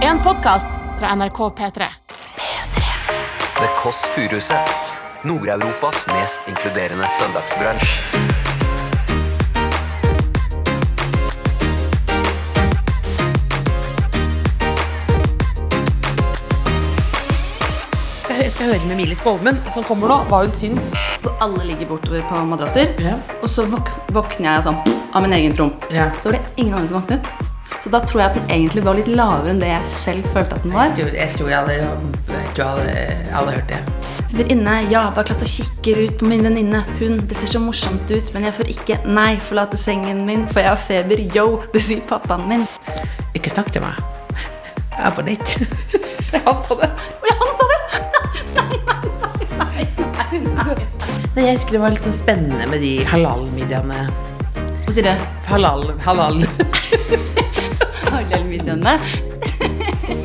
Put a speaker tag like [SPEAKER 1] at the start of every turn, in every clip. [SPEAKER 1] En podkast fra NRK P3.
[SPEAKER 2] The Kåss Furuseths. Nord-Europas mest inkluderende søndagsbransj.
[SPEAKER 3] Jeg skal høre med Emilie Skolmen, som kommer nå, hva hun syns.
[SPEAKER 4] hvor alle ligger bortover på madrasser.
[SPEAKER 3] Ja.
[SPEAKER 4] Og så våk våkner jeg sånn av min egen promp.
[SPEAKER 3] Ja.
[SPEAKER 4] Så var det ingen andre som våknet. Så da tror jeg at den egentlig var litt lavere enn det jeg selv følte at den var.
[SPEAKER 3] Jeg tror jeg, hadde, jeg tror jeg hadde, jeg hadde hørt det.
[SPEAKER 4] Sitter inne, ja, bare klass og kikker ut på min venninne. Hun, det ser så morsomt ut, men jeg får ikke nei, forlate sengen min, for jeg har feber, yo, det sier pappaen min.
[SPEAKER 3] Ikke snakk til meg. Jeg er på nett. Han sa det.
[SPEAKER 4] Oi, han sa det! Nei, nei, nei, nei, nei, nei.
[SPEAKER 3] Men jeg husker det var litt sånn spennende med de halal-midjene.
[SPEAKER 4] Hva sier du?
[SPEAKER 3] Halal, halal.
[SPEAKER 4] Parallellmiddelene?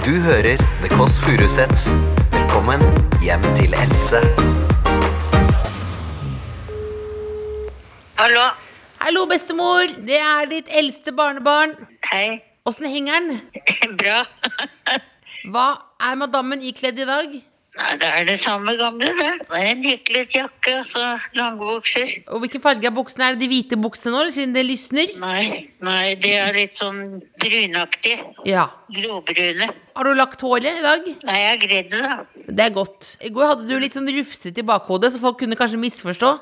[SPEAKER 2] Du hører The Kåss Furuseths. Velkommen hjem til Else.
[SPEAKER 5] Hallo.
[SPEAKER 3] Hallo, bestemor. Det er ditt eldste barnebarn.
[SPEAKER 5] Hei.
[SPEAKER 3] Åssen henger den?
[SPEAKER 5] Bra.
[SPEAKER 3] Hva Ah, er madammen ikledd i dag?
[SPEAKER 5] Nei, det er det samme gamle, det. Det er En hyklet jakke og så langbukser.
[SPEAKER 3] Og hvilken farge av buksene? Er det de hvite buksene nå, eller siden det lysner?
[SPEAKER 5] Nei, nei, de er litt sånn brunaktige.
[SPEAKER 3] Ja.
[SPEAKER 5] Gråbrune.
[SPEAKER 3] Har du lagt håret i dag?
[SPEAKER 5] Nei, jeg greide det, da.
[SPEAKER 3] Det er godt. I går hadde du litt sånn rufsete i bakhodet, så folk kunne kanskje misforstå.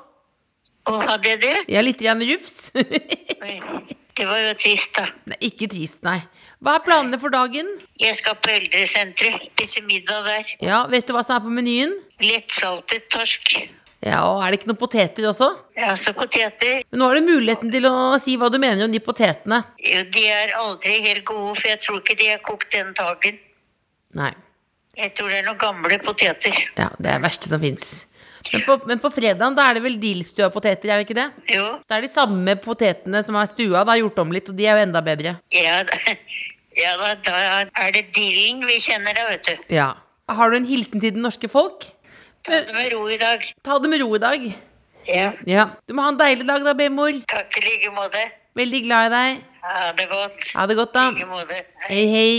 [SPEAKER 5] Og hadde jeg det?
[SPEAKER 3] Jeg er litt grann rufs. Nei,
[SPEAKER 5] Oi, Det var jo trist, da.
[SPEAKER 3] ikke trist, nei. Hva er planene for dagen?
[SPEAKER 5] Jeg skal på eldresenteret. Spise middag der.
[SPEAKER 3] Ja, Vet du hva som er på menyen?
[SPEAKER 5] Lettsaltet torsk.
[SPEAKER 3] Ja, og Er det ikke noen poteter også?
[SPEAKER 5] Ja, så poteter.
[SPEAKER 3] Men nå har du muligheten til å si hva du mener om de potetene.
[SPEAKER 5] Jo, de er aldri helt gode, for jeg tror ikke de er kokt den dagen.
[SPEAKER 3] Nei.
[SPEAKER 5] Jeg tror det er noen gamle poteter.
[SPEAKER 3] Ja, Det er det verste som fins. Men på, men på fredagen da er det vel dillstua poteter, er det ikke det?
[SPEAKER 5] Jo.
[SPEAKER 3] Så er de samme potetene som er stua, da gjort om litt, og de er jo enda bedre.
[SPEAKER 5] Ja, da- ja da, da er det dillen vi kjenner da, vet du.
[SPEAKER 3] Ja. Har du en hilsen til det norske folk?
[SPEAKER 5] Ta det med ro i dag.
[SPEAKER 3] Ta det med ro i dag.
[SPEAKER 5] Ja.
[SPEAKER 3] Ja. Du må ha en deilig dag da, bemor.
[SPEAKER 5] Takk i like måte.
[SPEAKER 3] Veldig glad i deg.
[SPEAKER 5] Ha det godt.
[SPEAKER 3] Ha det godt,
[SPEAKER 5] I like
[SPEAKER 3] da.
[SPEAKER 5] måte.
[SPEAKER 3] Hei, hei.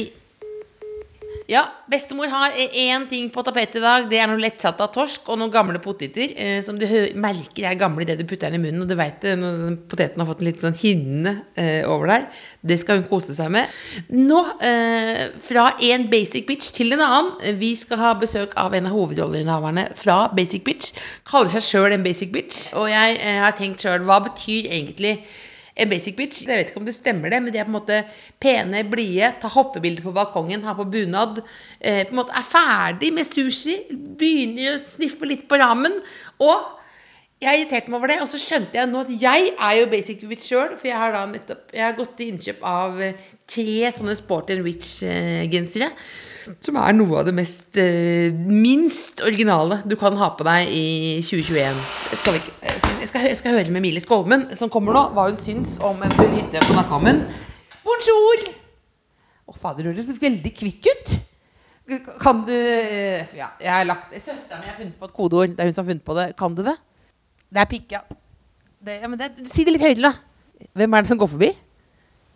[SPEAKER 3] Ja, bestemor har eh, én ting på tapetet i dag. Det er noe lettsatt av torsk og noen gamle poteter. Eh, som du hø merker er gamle idet du putter den i munnen. Og du vet det når den poteten har fått en litt sånn hinne eh, over deg. Det skal hun kose seg med. Nå, eh, fra en basic bitch til en annen. Eh, Vi skal ha besøk av en av hovedrolleinnehaverne fra Basic Bitch. Kaller seg sjøl en basic bitch. Og jeg eh, har tenkt sjøl, hva betyr egentlig en basic bitch, jeg vet ikke om det stemmer det, men de er på en måte pene, blide, tar hoppebilder på balkongen, har på bunad, eh, på en måte er ferdig med sushi, begynner å sniffe litt på ramen, og jeg irriterte meg over det, og så skjønte jeg nå at jeg er jo basic bitch sjøl, for jeg har da nettopp jeg har gått til innkjøp av eh, tre sånne eh, Sport and Rich-gensere, som er noe av det mest eh, minst originale du kan ha på deg i 2021. Skal vi ikke, jeg skal- jeg, skal, jeg skal høre med Emilie Skolmen, som kommer nå, hva hun syns om eventuell hytte på Nakkhammen. Bonjour! Å, fader, du høres veldig kvikk ut. Kan du eh, Ja, jeg har lagt Søstera mi har funnet på et kodeord. Det er hun som har funnet på det. Kan du det? Det er pikk, ja. Det, ja men det, si det litt høyere, da. Hvem er det som går forbi?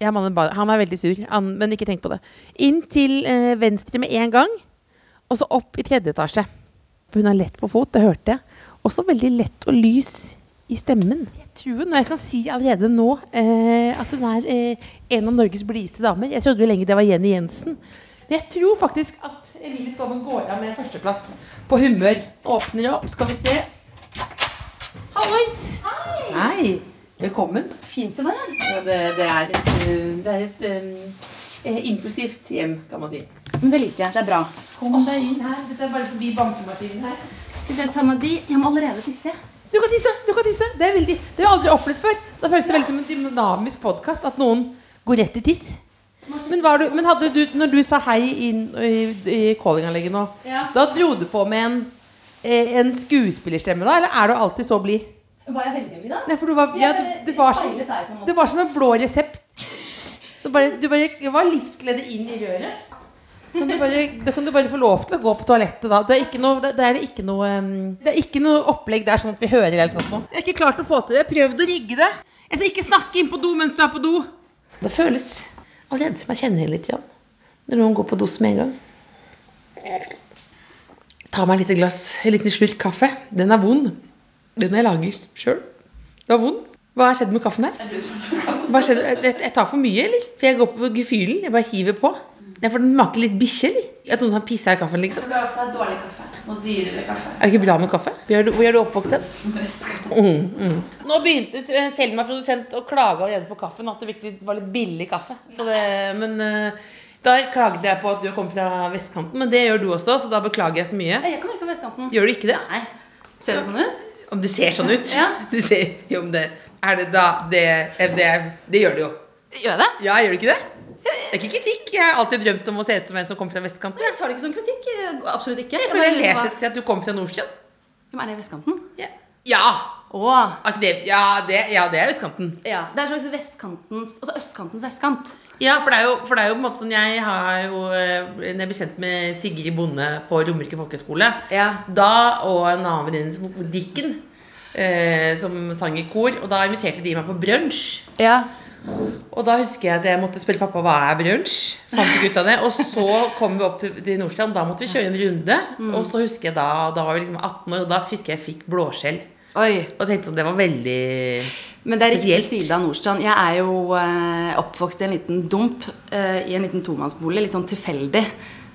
[SPEAKER 3] Ja, mannen, ba- han er veldig sur, han, men ikke tenk på det. Inn til eh, venstre med en gang, og så opp i tredje etasje. For Hun er lett på fot, det hørte jeg. Også veldig lett og lys i stemmen. Jeg tror hun, og jeg kan si allerede nå, eh, at hun er eh, en av Norges blideste damer. Jeg trodde jo lenge det var Jenny Jensen. Men jeg tror faktisk at Emilie Skammen går av med en førsteplass på humør. Åpner opp, skal vi se. Hallois! Hei! Velkommen.
[SPEAKER 4] Fint det var.
[SPEAKER 3] Ja, det, det er et, øh, det er et øhm, eh, impulsivt hjem, kan man si.
[SPEAKER 4] Men det liker jeg. Det er bra.
[SPEAKER 3] Kom deg inn her. Dette er bare forbi bamsemaskinen her.
[SPEAKER 4] Hvis jeg tar meg de, jeg må allerede tisse.
[SPEAKER 3] Du kan tisse! du kan tisse. Det er veldig, det har jeg aldri opplevd før. Da føles det veldig som en dynamisk podkast at noen går rett i tiss. Men, var du, men hadde du, når du sa hei inn i, i callinganlegget nå,
[SPEAKER 4] Ja.
[SPEAKER 3] da dro du på med en, eh, en skuespillerstemme da, eller er du alltid så blid?
[SPEAKER 4] Var jeg veldig blid da?
[SPEAKER 3] Nei, for du var, ja, det, det, var som, det var som en blå resept. Du, bare, du bare, det var livsglede inn i røret. Kan du bare, da kan du bare få lov til å gå på toalettet da. Det er ikke noe, det, det er ikke noe, um, det er ikke noe opplegg der sånn at vi hører eller sånt noe. Jeg har ikke klart å få til det. Prøvd å rigge det. Jeg skal ikke snakke inn på do mens du er på do. Det føles allerede som jeg kjenner litt igjen. Når noen går på dos med en gang. Ta meg et lite glass, en liten slurk kaffe. Den er vond. Den jeg lager sjøl. Den var vond. Hva har skjedd med kaffen her? Hva skjedde? Jeg, jeg tar for mye, eller? For jeg går på gefühlen. Jeg bare hiver på. Jeg får den smake litt bikkje, eller? At noen har pissa i kaffen, liksom.
[SPEAKER 4] Det er også dårlig kaffe. Og dyrere kaffe.
[SPEAKER 3] Er det ikke bra med kaffe? Hvor er du, hvor er du oppvokst hen? Mm, Nå begynte eh, Selma produsent å klage allerede på kaffen. At det virkelig var litt billig kaffe. Så det, men eh, der klagde jeg på at du har kommet fra vestkanten, men det gjør du også, så da beklager jeg så mye.
[SPEAKER 4] Jeg kommer ikke på vestkanten.
[SPEAKER 3] Gjør du ikke det?
[SPEAKER 4] Nei. Ser det sånn ut?
[SPEAKER 3] Om det ser sånn ut?
[SPEAKER 4] Ja.
[SPEAKER 3] Du ser, jo, men det, er det da det, eh, det, det gjør det jo.
[SPEAKER 4] Gjør jeg det?
[SPEAKER 3] Ja, gjør det ikke det? Det er ikke kritikk. Jeg har alltid drømt om å se ut som en som kommer fra vestkanten.
[SPEAKER 4] Jeg tar det ikke som kritikk. eh, Absolutt ikke.
[SPEAKER 3] Jeg føler jeg leste et sted at du kommer fra Nordstrand.
[SPEAKER 4] Men er det vestkanten?
[SPEAKER 3] Ja. Ja,
[SPEAKER 4] Åh.
[SPEAKER 3] er ikke det- ja, det, ja, det er vestkanten.
[SPEAKER 4] Ja, Det er en slags vestkantens, altså østkantens vestkant.
[SPEAKER 3] Ja, for det er jo, for det er jo på en måte sånn Jeg har jo eh, Når jeg ble kjent med Sigrid Bonde på Romerike folkehøgskole
[SPEAKER 4] Ja.
[SPEAKER 3] Da og en annen venninne som Dikken, eh, som sang i kor. Og da inviterte de meg på brunsj.
[SPEAKER 4] Ja.
[SPEAKER 3] Og da husker jeg at jeg måtte spørre pappa hva er brunsj. Fant ikke ut av det. Og så kom vi opp til- til Nordstrand. Da måtte vi kjøre en runde.
[SPEAKER 4] Mm.
[SPEAKER 3] Og så husker jeg da Da var vi liksom 18 år, og da husker jeg jeg fikk blåskjell.
[SPEAKER 4] Oi.
[SPEAKER 3] Og tenkte sånn Det var veldig
[SPEAKER 4] Men det er riktig
[SPEAKER 3] Spesielt.
[SPEAKER 4] side av Nordstrand. Jeg er jo eh, oppvokst i en liten dump eh, i en liten tomannsbolig, litt sånn tilfeldig.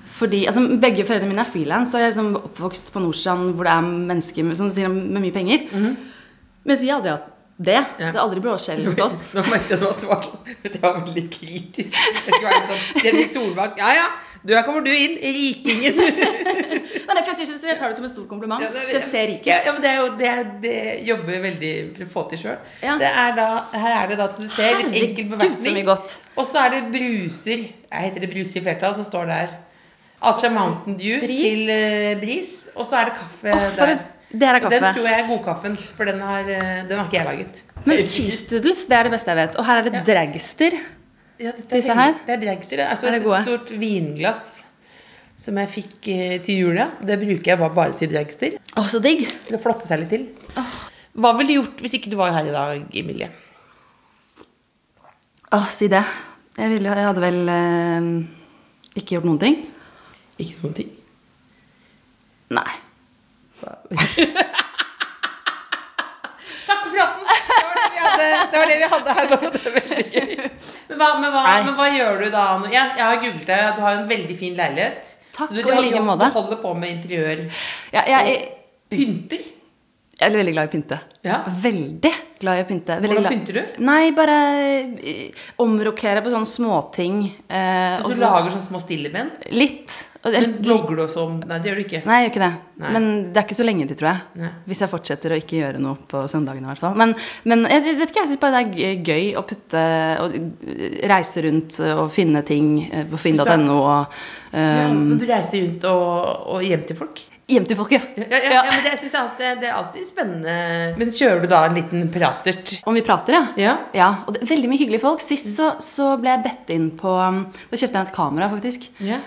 [SPEAKER 4] Fordi, altså, begge foreldrene mine er frilans, og jeg er liksom oppvokst på Nordstrand hvor det er mennesker med, som du sier, med mye penger. Men så har jeg aldri hatt det.
[SPEAKER 3] Ja.
[SPEAKER 4] Det er aldri blåskjell hos oss.
[SPEAKER 3] Nå merket jeg nå at det var, sånn- at jeg var veldig kritisk. Jeg skulle være litt sånn Fredrik Solvang. Ja ja, der kommer du inn. Rikingen.
[SPEAKER 4] Nei, men for jeg, synes, jeg tar det som en stor kompliment.
[SPEAKER 3] Ja, det-
[SPEAKER 4] så jeg ser rik ut.
[SPEAKER 3] Ja, ja, men det er jo det, er- det jobber jeg veldig for å få til sjøl.
[SPEAKER 4] Ja.
[SPEAKER 3] Her er det da, som du ser, litt enkel
[SPEAKER 4] Herregud, så mye
[SPEAKER 3] bevertning.
[SPEAKER 4] godt.
[SPEAKER 3] Og så er det bruser. Jeg heter det bruser i flertall, så står det her. Alt fra Mountain Dew
[SPEAKER 4] Bris.
[SPEAKER 3] til eh, bris. Og så er det kaffe
[SPEAKER 4] Åh, for
[SPEAKER 3] der.
[SPEAKER 4] en- det her er
[SPEAKER 3] Og Den
[SPEAKER 4] kaffe.
[SPEAKER 3] tror jeg er godkaffen, for den har, eh, den har ikke jeg laget.
[SPEAKER 4] Men cheese doodles, det er det beste jeg vet. Og her er det dragster.
[SPEAKER 3] Ja, dette er
[SPEAKER 4] Disse
[SPEAKER 3] peng-
[SPEAKER 4] her?
[SPEAKER 3] Det er dragster. Det er, altså
[SPEAKER 4] Er det
[SPEAKER 3] et
[SPEAKER 4] gode?
[SPEAKER 3] stort vinglass som jeg fikk eh, til jul. ja. Det bruker jeg bare, bare til dragster.
[SPEAKER 4] Å, så digg.
[SPEAKER 3] Til å flotte seg litt til. Hva ville du gjort hvis ikke du var her i dag, Emilie?
[SPEAKER 4] Å, si det. Jeg, ville, jeg hadde vel eh, ikke gjort noen ting.
[SPEAKER 3] Ikke noen ting.
[SPEAKER 4] Nei.
[SPEAKER 3] Takk for praten! Det var det vi hadde, det var det vi hadde her nå. Det er veldig gøy. Men hva, men, hva,
[SPEAKER 4] Nei.
[SPEAKER 3] men hva gjør du da? nå? Jeg, jeg har googlet deg, og du har en veldig fin leilighet.
[SPEAKER 4] Takk,
[SPEAKER 3] så du,
[SPEAKER 4] og i
[SPEAKER 3] du,
[SPEAKER 4] like
[SPEAKER 3] du
[SPEAKER 4] måte.
[SPEAKER 3] holder på med interiør.
[SPEAKER 4] Jeg, jeg,
[SPEAKER 3] Pynter?
[SPEAKER 4] jeg er veldig glad i å pynte.
[SPEAKER 3] Ja.
[SPEAKER 4] Veldig glad i å pynte. Veldig
[SPEAKER 3] Hvordan
[SPEAKER 4] glad-
[SPEAKER 3] pynter du?
[SPEAKER 4] Nei, bare eh, omrokere på sånne småting. eh,
[SPEAKER 3] Så
[SPEAKER 4] og
[SPEAKER 3] du
[SPEAKER 4] så-
[SPEAKER 3] lager sånne små stillemenn?
[SPEAKER 4] Litt. Og jeg-
[SPEAKER 3] Altså, Men blogger du også om Nei, det gjør du ikke.
[SPEAKER 4] Nei, jeg gjør ikke det.
[SPEAKER 3] Nei.
[SPEAKER 4] Men det er ikke så lenge til, tror jeg.
[SPEAKER 3] Nei.
[SPEAKER 4] Hvis jeg fortsetter å ikke gjøre noe på søndagene, i hvert fall. Men, men jeg vet ikke, jeg syns bare det er gøy å putte Og eh, reise rundt og finne ting eh, på finn.no og
[SPEAKER 3] Ja,
[SPEAKER 4] eh,
[SPEAKER 3] men du reiser rundt og, og hjem til folk?
[SPEAKER 4] Hjem til folk, ja.
[SPEAKER 3] Ja, ja, ja. men det, jeg synes alltid, det er alltid spennende. Men kjører du da en liten pratert?
[SPEAKER 4] Om vi prater, ja.
[SPEAKER 3] Ja.
[SPEAKER 4] og det er veldig mye hyggelige folk. Sist så, så ble jeg bedt inn på Da kjøpte jeg et kamera, faktisk.
[SPEAKER 3] Ja.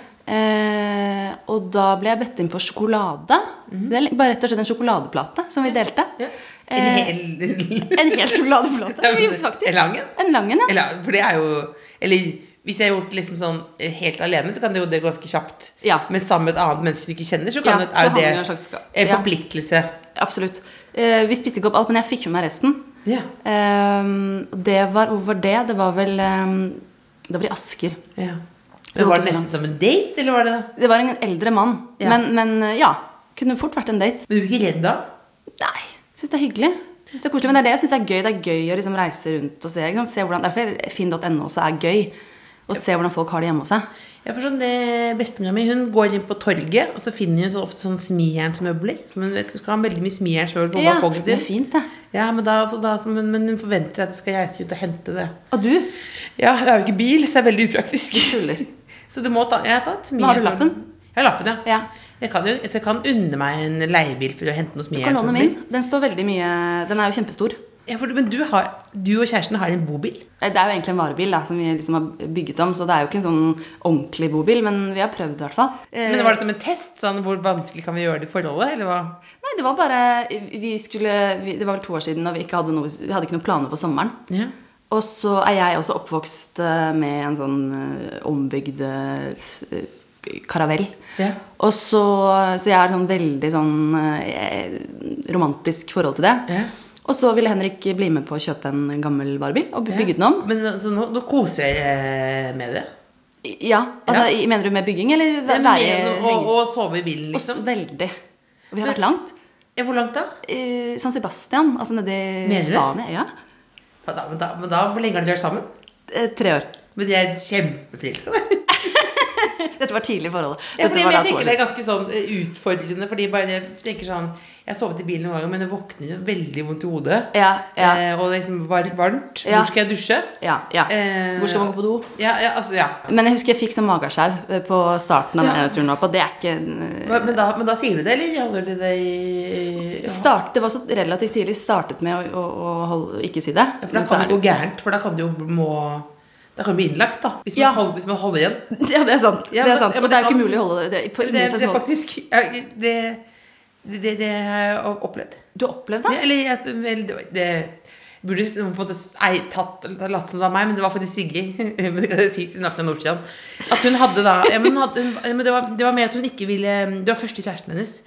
[SPEAKER 4] Eh, og da ble jeg bedt inn på sjokolade. Det er li- bare rett og slett en sjokoladeplate som vi delte.
[SPEAKER 3] Mhm. Ja. En
[SPEAKER 4] Eh,
[SPEAKER 3] hel
[SPEAKER 4] En hel sjokoladeplate.
[SPEAKER 3] Ja, men
[SPEAKER 4] Jo, faktisk.
[SPEAKER 3] en lang en?
[SPEAKER 4] En lang en, ja.
[SPEAKER 3] Eller, for det er jo Eller hvis jeg har gjort liksom sånn eh, helt alene, så kan det jo det gå ganske kjapt.
[SPEAKER 4] Ja.
[SPEAKER 3] Men sammen med et annet menneske du ikke kjenner, så kan
[SPEAKER 4] Ja,
[SPEAKER 3] det, er
[SPEAKER 4] så
[SPEAKER 3] jo
[SPEAKER 4] har man
[SPEAKER 3] det
[SPEAKER 4] jo en slags ska-
[SPEAKER 3] en
[SPEAKER 4] ja.
[SPEAKER 3] forpliktelse.
[SPEAKER 4] Absolutt. Eh, vi spiste ikke opp alt, men jeg fikk med meg resten.
[SPEAKER 3] Ja.
[SPEAKER 4] Ehm, det var, hvor var det? Det var vel ehm, Det var i Asker.
[SPEAKER 3] ja.
[SPEAKER 4] Så
[SPEAKER 3] Men var
[SPEAKER 4] ikke så
[SPEAKER 3] det
[SPEAKER 4] langt.
[SPEAKER 3] nesten som en date, eller var det det?
[SPEAKER 4] Det var en eldre mann.
[SPEAKER 3] Ja.
[SPEAKER 4] Men, men eh, ja, kunne fort vært en date.
[SPEAKER 3] Men du er ikke redd da?
[SPEAKER 4] Nei, syns det er hyggelig. Synes det er koselig, Men det er det jeg syns er gøy. Det er gøy å liksom reise rundt og se. Ikke sant? se hvordan, derfor finn.no også er gøy. Å se hvordan folk har det hjemme hos seg.
[SPEAKER 3] Ja, for sånn, det- Bestemora mi hun går inn på torget, og så finner hun så ofte sånn smijernsmøbler. Som hun vet, hun skal ha veldig mye smijernsmøbler på
[SPEAKER 4] Ja,
[SPEAKER 3] balkongen
[SPEAKER 4] det er
[SPEAKER 3] sin.
[SPEAKER 4] fint, det.
[SPEAKER 3] Ja, men, da, så da, så, men, men hun forventer at jeg skal reise ut og hente det.
[SPEAKER 4] Og du?
[SPEAKER 3] Ja, jeg har jo ikke bil, så det er veldig upraktisk.
[SPEAKER 4] Tuller.
[SPEAKER 3] Så du må ta, jeg har tatt mye.
[SPEAKER 4] Men har du lappen?
[SPEAKER 3] Jeg har lappen, ja.
[SPEAKER 4] Ja.
[SPEAKER 3] Jeg, kan jo, så jeg kan unne meg en leiebil for å hente noe smier.
[SPEAKER 4] Kolonnen min. Den står veldig mye Den er jo kjempestor.
[SPEAKER 3] sånn Ja, for, men du, har, du og kjæresten har en bobil?
[SPEAKER 4] Eh, Det er jo egentlig en varebil da, som vi liksom har bygget om, så det er jo ikke en sånn ordentlig bobil, men vi har prøvd i hvert fall. Eh,
[SPEAKER 3] Men var det som en test? Sånn, hvor vanskelig kan vi gjøre det i forholdet? Eller hva?
[SPEAKER 4] Nei, det var bare vi skulle, vi, Det var vel to år siden, og vi ikke hadde, noe, vi hadde ikke noen planer for sommeren.
[SPEAKER 3] Ja.
[SPEAKER 4] Og så er jeg også oppvokst eh, med en sånn eh, ombygd eh, karavell.
[SPEAKER 3] Ja.
[SPEAKER 4] Og så, så jeg har sånn veldig sånn eh, romantisk forhold til det.
[SPEAKER 3] Ja.
[SPEAKER 4] Og så ville Henrik bli med på å kjøpe en gammel varebil og bygge den om.
[SPEAKER 3] Men altså, nå, nå koser jeg eh, med det.
[SPEAKER 4] Ja, altså
[SPEAKER 3] Ja.
[SPEAKER 4] Mener du med bygging, eller
[SPEAKER 3] Det
[SPEAKER 4] være
[SPEAKER 3] er med å,
[SPEAKER 4] henge-
[SPEAKER 3] å sove i bilen,
[SPEAKER 4] Og så-
[SPEAKER 3] liksom.
[SPEAKER 4] Veldig. Og vi har
[SPEAKER 3] Men-
[SPEAKER 4] vært langt.
[SPEAKER 3] Ja, hvor langt da?
[SPEAKER 4] Eh, San Sebastian, altså nede
[SPEAKER 3] Mener
[SPEAKER 4] i
[SPEAKER 3] du?
[SPEAKER 4] Spania. Ja.
[SPEAKER 3] Ja, da, men, da, men da, Hvor lenge har dere vært sammen?
[SPEAKER 4] Eh, Tre år.
[SPEAKER 3] Men jeg er kjempeforelska. Ja,
[SPEAKER 4] Dette var tidlig i forholdet.
[SPEAKER 3] fordi
[SPEAKER 4] Dette
[SPEAKER 3] jeg
[SPEAKER 4] var da to
[SPEAKER 3] tenker
[SPEAKER 4] år.
[SPEAKER 3] det er ganske sånn eh, utfordrende. Fordi bare jeg tenker sånn Jeg har sovet i bilen noen ganger, men jeg våkner jo veldig vondt i hodet.
[SPEAKER 4] Ja, ja.
[SPEAKER 3] Eh, og det er liksom var varmt.
[SPEAKER 4] Ja.
[SPEAKER 3] Hvor skal jeg dusje?
[SPEAKER 4] Ja, ja.
[SPEAKER 3] Eh,
[SPEAKER 4] Hvor skal man gå på do?
[SPEAKER 3] Ja, ja, altså, ja.
[SPEAKER 4] Men jeg husker jeg fikk sånn magesjau eh, på starten av
[SPEAKER 3] Ja.
[SPEAKER 4] den ene turen. opp, Og det er ikke eh,
[SPEAKER 3] Men, men, da, men da sier du det, eller holder du det i ja.
[SPEAKER 4] start, Det var så relativt tidlig. Startet med å, å, å holde, ikke si det.
[SPEAKER 3] For da
[SPEAKER 4] men så
[SPEAKER 3] kan det
[SPEAKER 4] er
[SPEAKER 3] gå gærent, for da kan det jo må Da kan det bli innlagt, da. Hvis man,
[SPEAKER 4] Ja.
[SPEAKER 3] holder, hvis man holder igjen.
[SPEAKER 4] Ja, det er sant.
[SPEAKER 3] Ja,
[SPEAKER 4] det
[SPEAKER 3] men-
[SPEAKER 4] er sant.
[SPEAKER 3] ja, men
[SPEAKER 4] og det er jo
[SPEAKER 3] det-
[SPEAKER 4] ikke mulig å holde det på
[SPEAKER 3] Det,
[SPEAKER 4] ingen
[SPEAKER 3] det
[SPEAKER 4] slags
[SPEAKER 3] er
[SPEAKER 4] måte.
[SPEAKER 3] faktisk ja, Det, det, det, det har jeg opplevd.
[SPEAKER 4] Du har opplevd
[SPEAKER 3] Ja,
[SPEAKER 4] det?
[SPEAKER 3] eller at vel, det, var- det burde noen på en måte s- ei, tatt eller latt som det var meg, men det var faktisk Sigrid. men det kan jeg si siden Aften er Nordstrand. At hun hadde da ja, men hun hadde, hun, men det, var, det var med at hun ikke ville Det var første kjæresten hennes.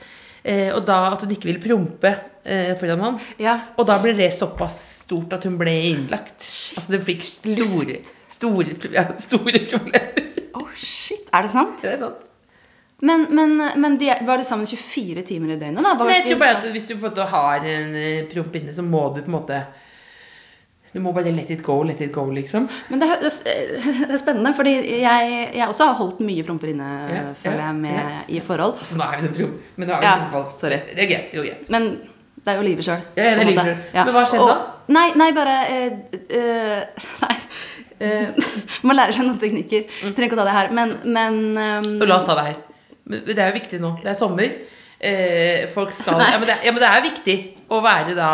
[SPEAKER 3] Eh, og da at hun ikke ville prompe eh, foran han.
[SPEAKER 4] Ja.
[SPEAKER 3] Og da ble det såpass stort at hun ble innlagt. Altså det fikk store, store, ja, store problemer.
[SPEAKER 4] Å, shit. Er det sant?
[SPEAKER 3] Det er sant.
[SPEAKER 4] Men, men, men de, var de sammen 24 timer i døgnet, da? Var
[SPEAKER 3] Nei, jeg
[SPEAKER 4] de
[SPEAKER 3] tror bare
[SPEAKER 4] så-
[SPEAKER 3] at Hvis du på en måte har en eh, promp inne, så må du på en måte Du må bare let it go, let it go, liksom.
[SPEAKER 4] Men det er, det er spennende, fordi jeg, jeg også har holdt mye promper inne,
[SPEAKER 3] Ja,
[SPEAKER 4] føler
[SPEAKER 3] ja,
[SPEAKER 4] jeg, med, i forhold.
[SPEAKER 3] For Nå er vi den prom... Men nå er vi
[SPEAKER 4] Ja,
[SPEAKER 3] den prompball.
[SPEAKER 4] sorry.
[SPEAKER 3] Det, det er greit. Det er jo greit.
[SPEAKER 4] Men det er jo livet sjøl.
[SPEAKER 3] Ja, ja, det er livet selv. Men hva skjedde da?
[SPEAKER 4] Nei, nei, bare eh, eh, Nei. eh, man lærer seg noen teknikker. Trenger ikke å ta det her. Men, men ehm,
[SPEAKER 3] Mm. Og la oss ta det her. Men det er jo viktig nå. Det er sommer. Eh, folk skal ja men, det, ja, men det er viktig å være da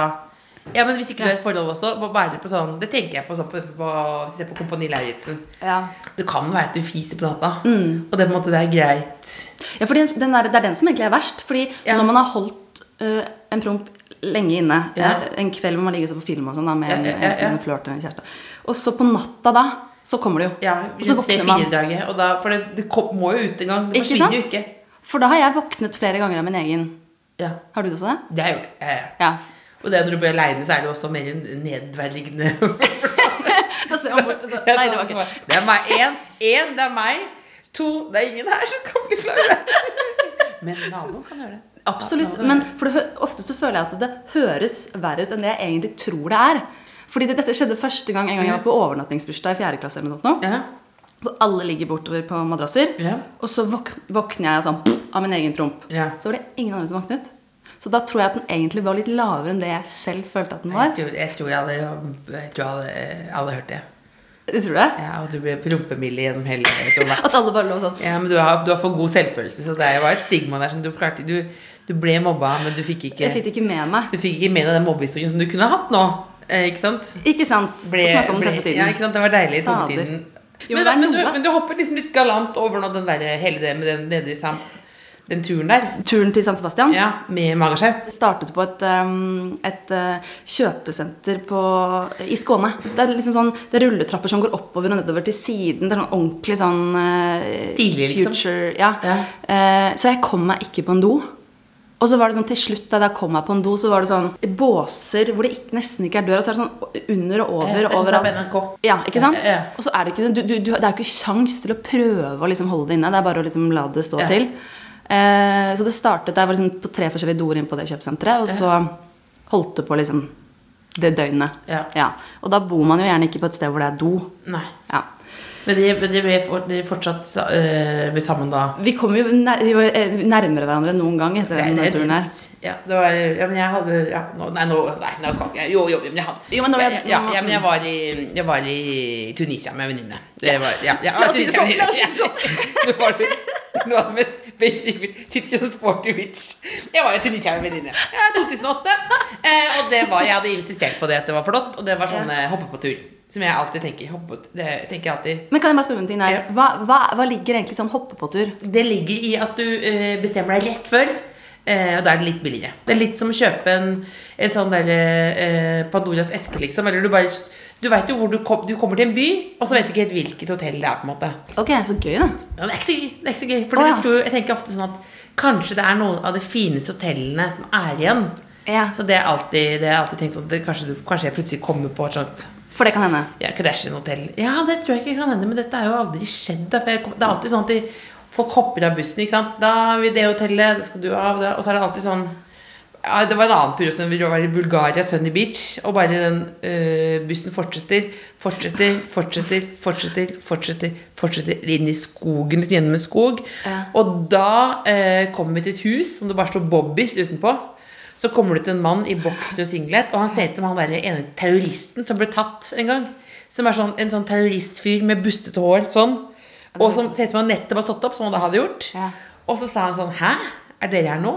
[SPEAKER 3] ja, men Hvis ikke du har et forhold også, må være på sånn Det tenker jeg på, sånn på, på hvis jeg er på Kompani Lauritzen.
[SPEAKER 4] eh, ja.
[SPEAKER 3] Det kan være at du fiser på natta,
[SPEAKER 4] Mm.
[SPEAKER 3] og det, er på en måte, det er greit.
[SPEAKER 4] ja, fordi den der, det er den som egentlig er verst. Fordi
[SPEAKER 3] Ja.
[SPEAKER 4] når man har holdt eh, en promp lenge inne,
[SPEAKER 3] Ja.
[SPEAKER 4] eh, en kveld hvor man ligger og ser på film og sånn da, med
[SPEAKER 3] Ja,
[SPEAKER 4] en,
[SPEAKER 3] ja, ja, ja.
[SPEAKER 4] en flørt eller en kjæreste, og så på natta da, så kommer det jo.
[SPEAKER 3] Ja,
[SPEAKER 4] og så våkner man.
[SPEAKER 3] Dager, og da, for det, det kom, må jo ut en gang. Det
[SPEAKER 4] Ikke
[SPEAKER 3] forsvinner jo
[SPEAKER 4] sant?
[SPEAKER 3] ikke.
[SPEAKER 4] For da har jeg våknet flere ganger av min egen.
[SPEAKER 3] Ja,
[SPEAKER 4] Har du det også? det?
[SPEAKER 3] det har jeg gjort. Ja, ja.
[SPEAKER 4] Ja.
[SPEAKER 3] Og det er når du blir aleine, så er det også mer en nedverdigende
[SPEAKER 4] Da ser man bort. og Da, nei, det var ikke
[SPEAKER 3] Det er meg. Én, én, det er meg. To, det er ingen her som kan bli flaue. Men naboen kan gjøre det. Naboen
[SPEAKER 4] Absolutt.
[SPEAKER 3] kan
[SPEAKER 4] Men
[SPEAKER 3] gjøre det.
[SPEAKER 4] for det, hø- ofte så føler jeg at det høres verre ut enn det jeg egentlig tror det er. Fordi det, dette skjedde første gang en gang
[SPEAKER 3] Mm.
[SPEAKER 4] jeg var på overnattingsbursdag i fjerde klasse. eller noe sånt nå,
[SPEAKER 3] ja.
[SPEAKER 4] Hvor alle ligger bortover på madrasser.
[SPEAKER 3] Ja.
[SPEAKER 4] Og så våk- våkner jeg sånn pff, av min egen promp.
[SPEAKER 3] Ja.
[SPEAKER 4] Så var det ingen andre som våknet. Så da tror jeg at den egentlig var litt lavere enn det jeg selv følte at den
[SPEAKER 3] Jeg
[SPEAKER 4] var.
[SPEAKER 3] tror jeg, tror jeg, hadde, jeg tror jeg hadde, eh, alle hørte det.
[SPEAKER 4] Du tror det?
[SPEAKER 3] Ja, og du ble prompemild gjennom hele etter hvert.
[SPEAKER 4] At alle bare lå sånn.
[SPEAKER 3] Ja, men du har, du har for god selvfølelse, så det var et stigma der som du klarte Du, du ble mobba, men du fikk ikke
[SPEAKER 4] Jeg fikk det ikke med meg.
[SPEAKER 3] Så du fikk ikke med deg den mobbehistorien som du kunne hatt nå. Eh, ikke sant?
[SPEAKER 4] Ikke sant?
[SPEAKER 3] Ble,
[SPEAKER 4] Å snakke om
[SPEAKER 3] ble,
[SPEAKER 4] det på
[SPEAKER 3] ja,
[SPEAKER 4] tiden.
[SPEAKER 3] ikke sant? Det var deilig i
[SPEAKER 4] Fader.
[SPEAKER 3] tungetiden.
[SPEAKER 4] Jo,
[SPEAKER 3] men,
[SPEAKER 4] men
[SPEAKER 3] da,
[SPEAKER 4] det er
[SPEAKER 3] men, du,
[SPEAKER 4] noe.
[SPEAKER 3] men du hopper liksom litt galant over nå den der, hele det med den nede i sam, den turen der.
[SPEAKER 4] Turen til San Sebastian.
[SPEAKER 3] Ja, Med magesjau.
[SPEAKER 4] Det startet på et, um, et uh, kjøpesenter på, i Skåne. Det er liksom sånn, det er rulletrapper som går oppover og nedover til siden. Det er sånn ordentlig sånn uh,
[SPEAKER 3] Stilig, liksom.
[SPEAKER 4] future. Ja.
[SPEAKER 3] Ja.
[SPEAKER 4] Eh, så jeg kom meg ikke på en do. Og så var det sånn, til slutt da jeg kom meg på en do, så var det sånn båser hvor det ikke, nesten ikke er dør. Og så er det sånn under og
[SPEAKER 3] Ja, det
[SPEAKER 4] over
[SPEAKER 3] er
[SPEAKER 4] og
[SPEAKER 3] sånn
[SPEAKER 4] overalt.
[SPEAKER 3] det er på NRK.
[SPEAKER 4] Ja, ikke sant?
[SPEAKER 3] Ja, ja.
[SPEAKER 4] Og så er det ikke sånn, du, du, du, det er jo ikke sjans til å prøve å liksom holde det inne. Det er bare å liksom la det stå
[SPEAKER 3] Ja.
[SPEAKER 4] til. Eh, så det startet der var liksom på tre forskjellige doer inn på det kjøpesenteret, og så holdt det på liksom det døgnet.
[SPEAKER 3] Ja.
[SPEAKER 4] Og da bor man jo gjerne ikke på et sted hvor det er do.
[SPEAKER 3] Nei.
[SPEAKER 4] Ja.
[SPEAKER 3] Men de, men de ble for, de fortsatt sa- eh, ble sammen da.
[SPEAKER 4] Vi kom jo nær, vi var eh, nærmere hverandre enn noen gang etter
[SPEAKER 3] Nei,
[SPEAKER 4] den
[SPEAKER 3] det er
[SPEAKER 4] turen her.
[SPEAKER 3] trist. Ja, det var, ja, men jeg hadde ja, nå, Nei, nå, nei, nå kan ikke jeg Jo, jo, men jeg hadde
[SPEAKER 4] Jo, men nå vet-
[SPEAKER 3] ja,
[SPEAKER 4] nå-
[SPEAKER 3] ja, men jeg var i, jeg var i Tunisia med en venninne. Det var- Ja, ja,
[SPEAKER 4] La oss si det sånn, la oss si det
[SPEAKER 3] sånn. Det var det noe av det mest basic Sitter ikke sånn sporty bitch. Jeg var i Tunisia med en venninne. Ja, 2008. Eh, og det var, jeg hadde insistert på det at det var flott, og det var sånn eh, hoppe på tur. Som jeg alltid tenker. Hoppe på, det tenker jeg alltid
[SPEAKER 4] Men kan jeg bare spørre om en ting der?
[SPEAKER 3] Ja.
[SPEAKER 4] Hva, hva, hva ligger egentlig sånn hoppe på tur?
[SPEAKER 3] det ligger i at du eh, bestemmer deg rett før, eh, og da er det litt billigere. Det er litt som å kjøpe en, en sånn der eh, Pandoras eske, liksom. Eller du bare Du vet jo hvor du, kom, du kommer til en by, og så vet du ikke helt hvilket hotell det er. på en måte
[SPEAKER 4] Ok, så gøy, da.
[SPEAKER 3] ja, Det er ikke så gøy. Det er ikke så gøy for
[SPEAKER 4] Å,
[SPEAKER 3] dere
[SPEAKER 4] ja.
[SPEAKER 3] tror, jo- jeg tenker ofte sånn at kanskje det er noen av de fineste hotellene som er igjen.
[SPEAKER 4] Ja.
[SPEAKER 3] Så det er alltid, det er alltid tenkt sånn det, kanskje, du, kanskje jeg plutselig kommer på et sånt
[SPEAKER 4] For det kan hende.
[SPEAKER 3] ja, Kardashian-hotell. Ja, det tror jeg ikke kan hende, men dette er jo aldri skjedd. Da, for jeg, kom- det er alltid sånn at de, folk hopper av bussen. ikke sant? Da er vi i det hotellet, det skal du av. Da. Og så er det alltid sånn ja, Det var en annen tur også. Vi var i Bulgaria, Sunny Beach. Og bare den øh, bussen fortsetter, fortsetter, fortsetter, fortsetter, fortsetter, fortsetter inn i skogen, litt gjennom en skog. Og da øh, kommer vi til et hus som det bare står Bobbys utenpå. Så kommer det ut en mann i bokser og singlet, og han ser ut som han der ene terroristen som ble tatt en gang. Som er sånn, en sånn terroristfyr med bustete hår, sånn. Og som ser ut som han nettopp har stått opp, som han da hadde gjort.
[SPEAKER 4] Ja.
[SPEAKER 3] Og så sa han sånn Hæ? Er dere her nå?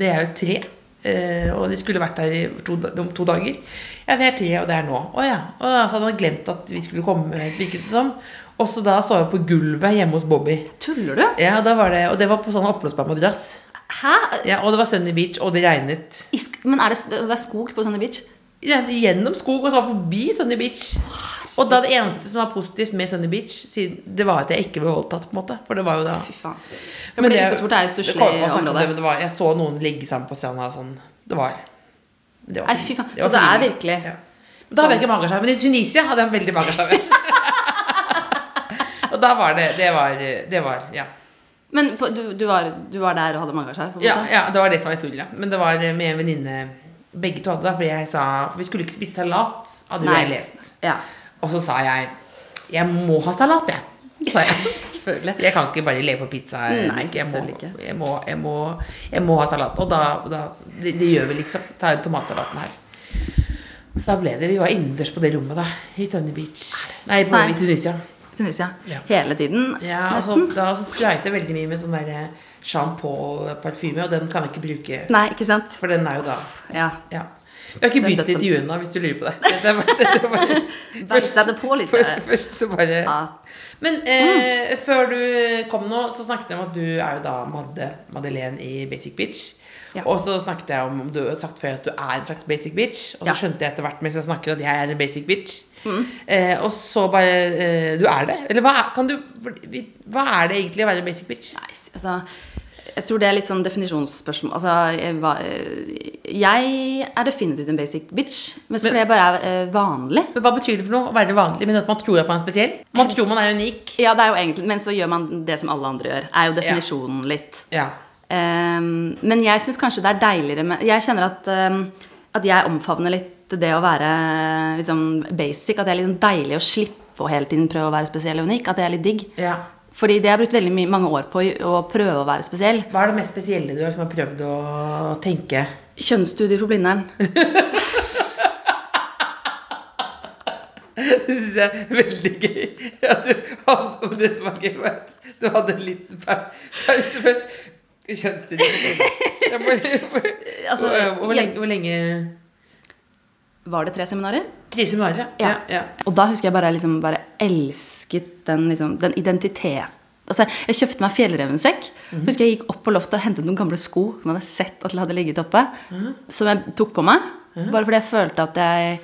[SPEAKER 3] Det er jo tre. eh, og de skulle vært der i to, om to dager. Ja, vi er tre, og det er nå. Å ja. Å, ja, så hadde han glemt at vi skulle komme, virket det som. Og så da så jeg på gulvet hjemme hos Bobby.
[SPEAKER 4] Tuller du?
[SPEAKER 3] Ja, da var det, Og det var på sånn oppblåsbar madrass.
[SPEAKER 4] Hæ?
[SPEAKER 3] Ja, og det var Sunny Beach, og det regnet.
[SPEAKER 4] I sk men er det, det er skog på Sunny Beach?
[SPEAKER 3] Ja, gjennom skog og ta forbi Sunny Beach. Og da det eneste som var positivt med Sunny Beach, siden det var at jeg ikke ble voldtatt. på en måte For det var jo da
[SPEAKER 4] Fy faen.
[SPEAKER 3] Men
[SPEAKER 4] fordi
[SPEAKER 3] det-
[SPEAKER 4] utgangspunktet er jo
[SPEAKER 3] det
[SPEAKER 4] stusslig
[SPEAKER 3] kommer på å snakke om
[SPEAKER 4] område.
[SPEAKER 3] det, men det var, Jeg så noen ligge sammen på stranda og sånn. Det var det var
[SPEAKER 4] Nei,
[SPEAKER 3] for-
[SPEAKER 4] fy faen.
[SPEAKER 3] var
[SPEAKER 4] Så det
[SPEAKER 3] for
[SPEAKER 4] er
[SPEAKER 3] mye.
[SPEAKER 4] virkelig-
[SPEAKER 3] ja. Men Da hadde jeg ikke magerstarm. Men i Tunisia hadde jeg veldig magerstarm. og da var det Det var, det var ja.
[SPEAKER 4] Men på, du, du, var, du var der og hadde magasjau?
[SPEAKER 3] Ja, ja, det var det som var historien. ja. Men det var med en venninne begge to hadde det. Fordi jeg sa for Vi skulle ikke spise salat, hadde jo
[SPEAKER 4] Nei.
[SPEAKER 3] jeg lest.
[SPEAKER 4] ja.
[SPEAKER 3] Og så sa jeg Jeg må ha salat, jeg. Sa jeg.
[SPEAKER 4] Selvfølgelig.
[SPEAKER 3] Jeg kan ikke bare leve på pizza.
[SPEAKER 4] Nei,
[SPEAKER 3] jeg, må,
[SPEAKER 4] selvfølgelig ikke.
[SPEAKER 3] jeg, må, jeg, må, jeg må ha salat. Og da, da det, det gjør vi liksom. Ta tomatsalaten her. Så da ble det Vi var innendørs på det rommet, da. I Tønny Beach. Nei, på,
[SPEAKER 4] Nei.
[SPEAKER 3] i Tunisia.
[SPEAKER 4] Tunisia.
[SPEAKER 3] Ja.
[SPEAKER 4] Hele tiden,
[SPEAKER 3] Ja, altså- og så,
[SPEAKER 4] nesten.
[SPEAKER 3] da så sprayet jeg veldig mye med sånn der Jean Paul-parfyme, og den kan jeg ikke bruke.
[SPEAKER 4] Nei, ikke sant?
[SPEAKER 3] For den er jo da
[SPEAKER 4] Ja.
[SPEAKER 3] Ja. Vi har ikke
[SPEAKER 4] Den
[SPEAKER 3] begynt
[SPEAKER 4] dødsdømte.
[SPEAKER 3] intervjuene, da, hvis du lurer på det. Dette er bare, dette er bare,
[SPEAKER 4] Bare sette på litt,
[SPEAKER 3] Først,
[SPEAKER 4] eh.
[SPEAKER 3] først så bare
[SPEAKER 4] Ja.
[SPEAKER 3] Men eh, før du kom nå, så snakket jeg om at du er jo da Madde, Madeleine i Basic Bitch.
[SPEAKER 4] Ja.
[SPEAKER 3] Og så snakket jeg om du har sagt før at du er en slags basic bitch. Og så
[SPEAKER 4] Ja.
[SPEAKER 3] skjønte jeg etter hvert mens jeg snakket at jeg er en basic bitch. Eh, og så bare eh, Du er det? Eller hva, er- kan du, hva er det egentlig å være en basic bitch?
[SPEAKER 4] Nei, s- altså Jeg tror det er litt sånn definisjonsspørsmål. Altså, jeg, var- jeg er definitivt en basic bitch, mens fordi jeg bare er eh, vanlig.
[SPEAKER 3] Men Hva betyr det for noe å være vanlig, men at man tror at man er spesiell? Man tror man er unik.
[SPEAKER 4] Ja, det er jo egentlig, men så gjør man det som alle andre gjør. Er jo definisjonen litt.
[SPEAKER 3] Ja.
[SPEAKER 4] Ehm, men jeg syns kanskje det er deiligere med Jeg kjenner at, ehm, at jeg omfavner litt det å være liksom, basic. At det er litt sånn deilig å slippe å hele tiden prøve å være spesiell og unik. At det er litt digg.
[SPEAKER 3] Ja.
[SPEAKER 4] Fordi det har jeg brukt veldig mye, mange år på i- å prøve å være spesiell.
[SPEAKER 3] Hva er det mest spesielle du har, som har prøvd å tenke?
[SPEAKER 4] Kjønnsstudier på Blindern.
[SPEAKER 3] Det syns jeg er veldig gøy. At du hadde, og det som var gøy, var at du hadde en liten pau- pause først. Kjønnsstudier. Jeg må-
[SPEAKER 4] Altså,
[SPEAKER 3] Hvor- hvor, lenge, hvor lenge
[SPEAKER 4] Var det tre seminarer?
[SPEAKER 3] Tre seminarer, ja. ja.
[SPEAKER 4] Og da husker jeg bare, liksom, bare elsket den, liksom, den identiteten. Altså, jeg kjøpte meg fjellrevensekk.
[SPEAKER 3] Mhm.
[SPEAKER 4] Husker jeg gikk opp på loftet og hentet noen gamle sko som jeg hadde sett at hadde ligget oppe,
[SPEAKER 3] Mhm.
[SPEAKER 4] som jeg tok på meg. Bare fordi jeg følte at jeg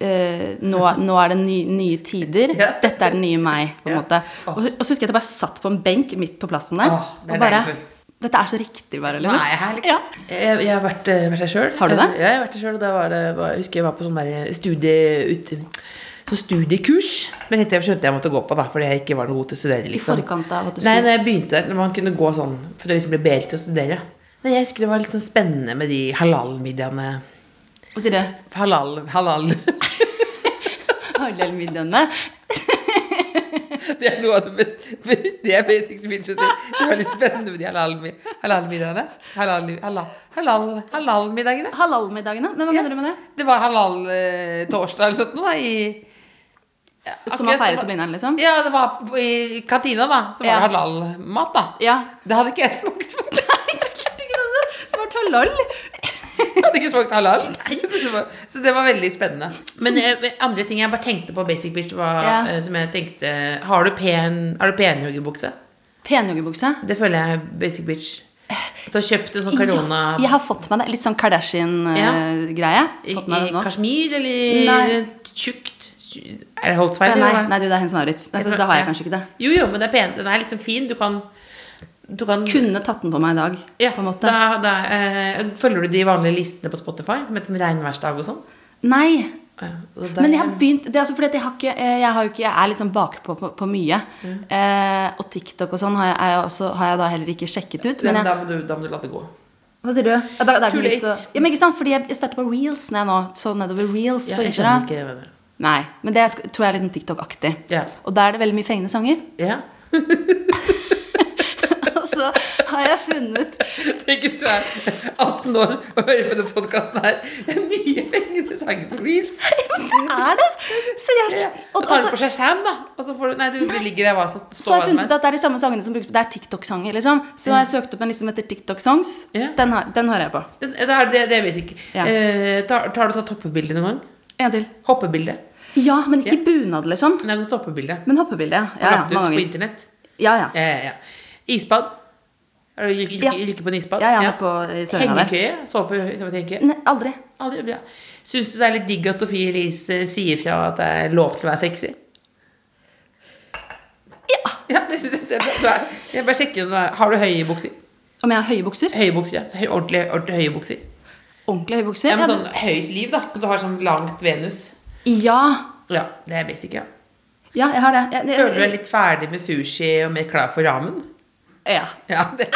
[SPEAKER 4] eh, nå, nå er det ny, nye tider.
[SPEAKER 3] Mhm. Ja.
[SPEAKER 4] Dette er den nye meg. på en
[SPEAKER 3] Ja.
[SPEAKER 4] måte. Og, og så husker jeg at jeg bare satt på en benk midt på plassen der.
[SPEAKER 3] Åh, det er
[SPEAKER 4] og bare,
[SPEAKER 3] deilig følelse.
[SPEAKER 4] Dette er så riktig, bare.
[SPEAKER 3] Nå er jeg her, liksom.
[SPEAKER 4] Ja.
[SPEAKER 3] Jeg, jeg har vært, eh, vært der sjøl.
[SPEAKER 4] Har du det?
[SPEAKER 3] Ja, jeg har vært der selv, og da var det, var, jeg husker jeg var på sånn der studie... Ut, så studiekurs. Men dette skjønte jeg måtte gå på, da, fordi jeg ikke var noe god til å studere. Liksom.
[SPEAKER 4] forkant av at du
[SPEAKER 3] Nei,
[SPEAKER 4] skulle-
[SPEAKER 3] når jeg begynte der, når man kunne gå sånn for å liksom bli bedre til å studere. Nei, Jeg husker det var litt sånn spennende med de halal-midjene.
[SPEAKER 4] Og sier du
[SPEAKER 3] Halal, halal.
[SPEAKER 4] Hallelmiddagene.
[SPEAKER 3] Det er noe av det beste Det er basics bitches. Det var litt spennende med de halal-middagene. Halal-middagene. Halal, halal, halal-middagene.
[SPEAKER 4] Halalmiddagene? Men hva mener du med det?
[SPEAKER 3] Det var halal-torsdag eller noe sånt nå, da, i ja,
[SPEAKER 4] Som man
[SPEAKER 3] akkurat, det
[SPEAKER 4] feiret på
[SPEAKER 3] var-
[SPEAKER 4] Blindern, liksom?
[SPEAKER 3] Ja, det var på- i kantina, da. Så var
[SPEAKER 4] Ja.
[SPEAKER 3] det halal-mat, da.
[SPEAKER 4] Ja.
[SPEAKER 3] Det hadde ikke jeg smakt. Jeg altså.
[SPEAKER 4] Svart halal.
[SPEAKER 3] hadde ikke smakt halal. Så det, var, så det var veldig spennende. Men eh, andre ting jeg bare tenkte på basic bitch, var
[SPEAKER 4] Ja.
[SPEAKER 3] eh, som jeg tenkte Har du pen, har du penjoggebukse?
[SPEAKER 4] Penjoggebukse.
[SPEAKER 3] Det føler jeg er basic bitch. Du har kjøpt en sånn korona
[SPEAKER 4] Ja, jeg har fått meg det. Litt sånn Kardashian-greie.
[SPEAKER 3] i,
[SPEAKER 4] Fått
[SPEAKER 3] i
[SPEAKER 4] meg det nå.
[SPEAKER 3] kasjmir, eller
[SPEAKER 4] Nei.
[SPEAKER 3] tjukt? Er det Holtzweiler?
[SPEAKER 4] Nei,
[SPEAKER 3] eller hva?
[SPEAKER 4] nei du, det er Hennes Maurits. Nei, så Da har jeg kanskje ikke det.
[SPEAKER 3] Jo, jo, men det er pent. Den er liksom fin. Du kan, du kan
[SPEAKER 4] Kunne tatt den på meg i dag,
[SPEAKER 3] Ja,
[SPEAKER 4] på en måte.
[SPEAKER 3] Da, da, eh, følger du de vanlige listene på Spotify? Som heter sånn regnværsdag og sånn?
[SPEAKER 4] Nei.
[SPEAKER 3] Ja, og der-
[SPEAKER 4] Men jeg har begynt Det er altså fordi at jeg har ikke eh, Jeg, har jo ikke, jeg er liksom bakpå på, på mye.
[SPEAKER 3] Mm.
[SPEAKER 4] Eh, og TikTok og sånn har jeg, er jeg også, har jeg da heller ikke sjekket ut.
[SPEAKER 3] Ja,
[SPEAKER 4] Men
[SPEAKER 3] men
[SPEAKER 4] jeg,
[SPEAKER 3] da, må du, da må du la det gå.
[SPEAKER 4] hva sier du? Ja, da, da er
[SPEAKER 3] Too
[SPEAKER 4] det litt så,
[SPEAKER 3] late.
[SPEAKER 4] ja, men ikke sant? Fordi jeg, jeg starter på reels når jeg nå. Så nedover reels
[SPEAKER 3] Ja,
[SPEAKER 4] på
[SPEAKER 3] jeg
[SPEAKER 4] Instagram.
[SPEAKER 3] skjønner ikke hva det er.
[SPEAKER 4] Nei, men det sk- tror jeg er litt sånn TikTok-aktig.
[SPEAKER 3] Ja.
[SPEAKER 4] Og da er det veldig mye fengende sanger.
[SPEAKER 3] Ja.
[SPEAKER 4] Og så har jeg funnet
[SPEAKER 3] Tenk hvis du er 18 år og hører på denne podkasten her. Det er mye fengende sanger på reels.
[SPEAKER 4] Er det? Så jeg,
[SPEAKER 3] Og tar
[SPEAKER 4] og, og
[SPEAKER 3] du
[SPEAKER 4] så,
[SPEAKER 3] på seg Sam, da. Og så får du Nei, du du ligger der hva som
[SPEAKER 4] så har jeg funnet ut
[SPEAKER 3] der.
[SPEAKER 4] at det er de samme sangene som brukes Det er TikTok-sanger, liksom. Så da har jeg søkt opp en liste som heter TikTok-songs.
[SPEAKER 3] Ja.
[SPEAKER 4] Den, har- den hører jeg på.
[SPEAKER 3] Men Det, er, det, det vet jeg ikke.
[SPEAKER 4] Ja.
[SPEAKER 3] Eh, tar, tar du tatt hoppebilde noen gang?
[SPEAKER 4] En til.
[SPEAKER 3] Hoppebilde?
[SPEAKER 4] Ja, men ikke bunad, liksom.
[SPEAKER 3] Nei, du har tatt hoppebilde.
[SPEAKER 4] Men hoppebilde, ja. ja, ja
[SPEAKER 3] Lagt ut
[SPEAKER 4] mange
[SPEAKER 3] på
[SPEAKER 4] ganger.
[SPEAKER 3] internett.
[SPEAKER 4] Ja, ja.
[SPEAKER 3] Ja, ja, ja. Isbad. Har du lykke,
[SPEAKER 4] Ja.
[SPEAKER 3] lykke, lykke på en isbad?
[SPEAKER 4] Ja, ja, på i Sørlandet. Mm.
[SPEAKER 3] Hengekøye? Så på så på hengekøye?
[SPEAKER 4] Nei, aldri.
[SPEAKER 3] Aldri, ja. Syns du det er litt digg at Sofie Elise eh, sier fra at det er lov til å være sexy?
[SPEAKER 4] Ja.
[SPEAKER 3] Ja, det synes jeg det er bra. Du er, jeg bare sjekker om du er Har du høye bukser?
[SPEAKER 4] Om jeg har høye bukser?
[SPEAKER 3] Høye bukser, ja. Så høy, ordentlig, ordentlig høye bukser.
[SPEAKER 4] Ordentlig høye bukser?
[SPEAKER 3] Ja, men
[SPEAKER 4] Ja,
[SPEAKER 3] sånn høyt liv, da. Så du har sånn langt Venus.
[SPEAKER 4] ja,
[SPEAKER 3] Ja, det er basic, ja.
[SPEAKER 4] ja jeg har det. Jeg, jeg,
[SPEAKER 3] Føler du deg litt ferdig med sushi og mer klar for ramen?
[SPEAKER 4] Ja.
[SPEAKER 3] Ja, det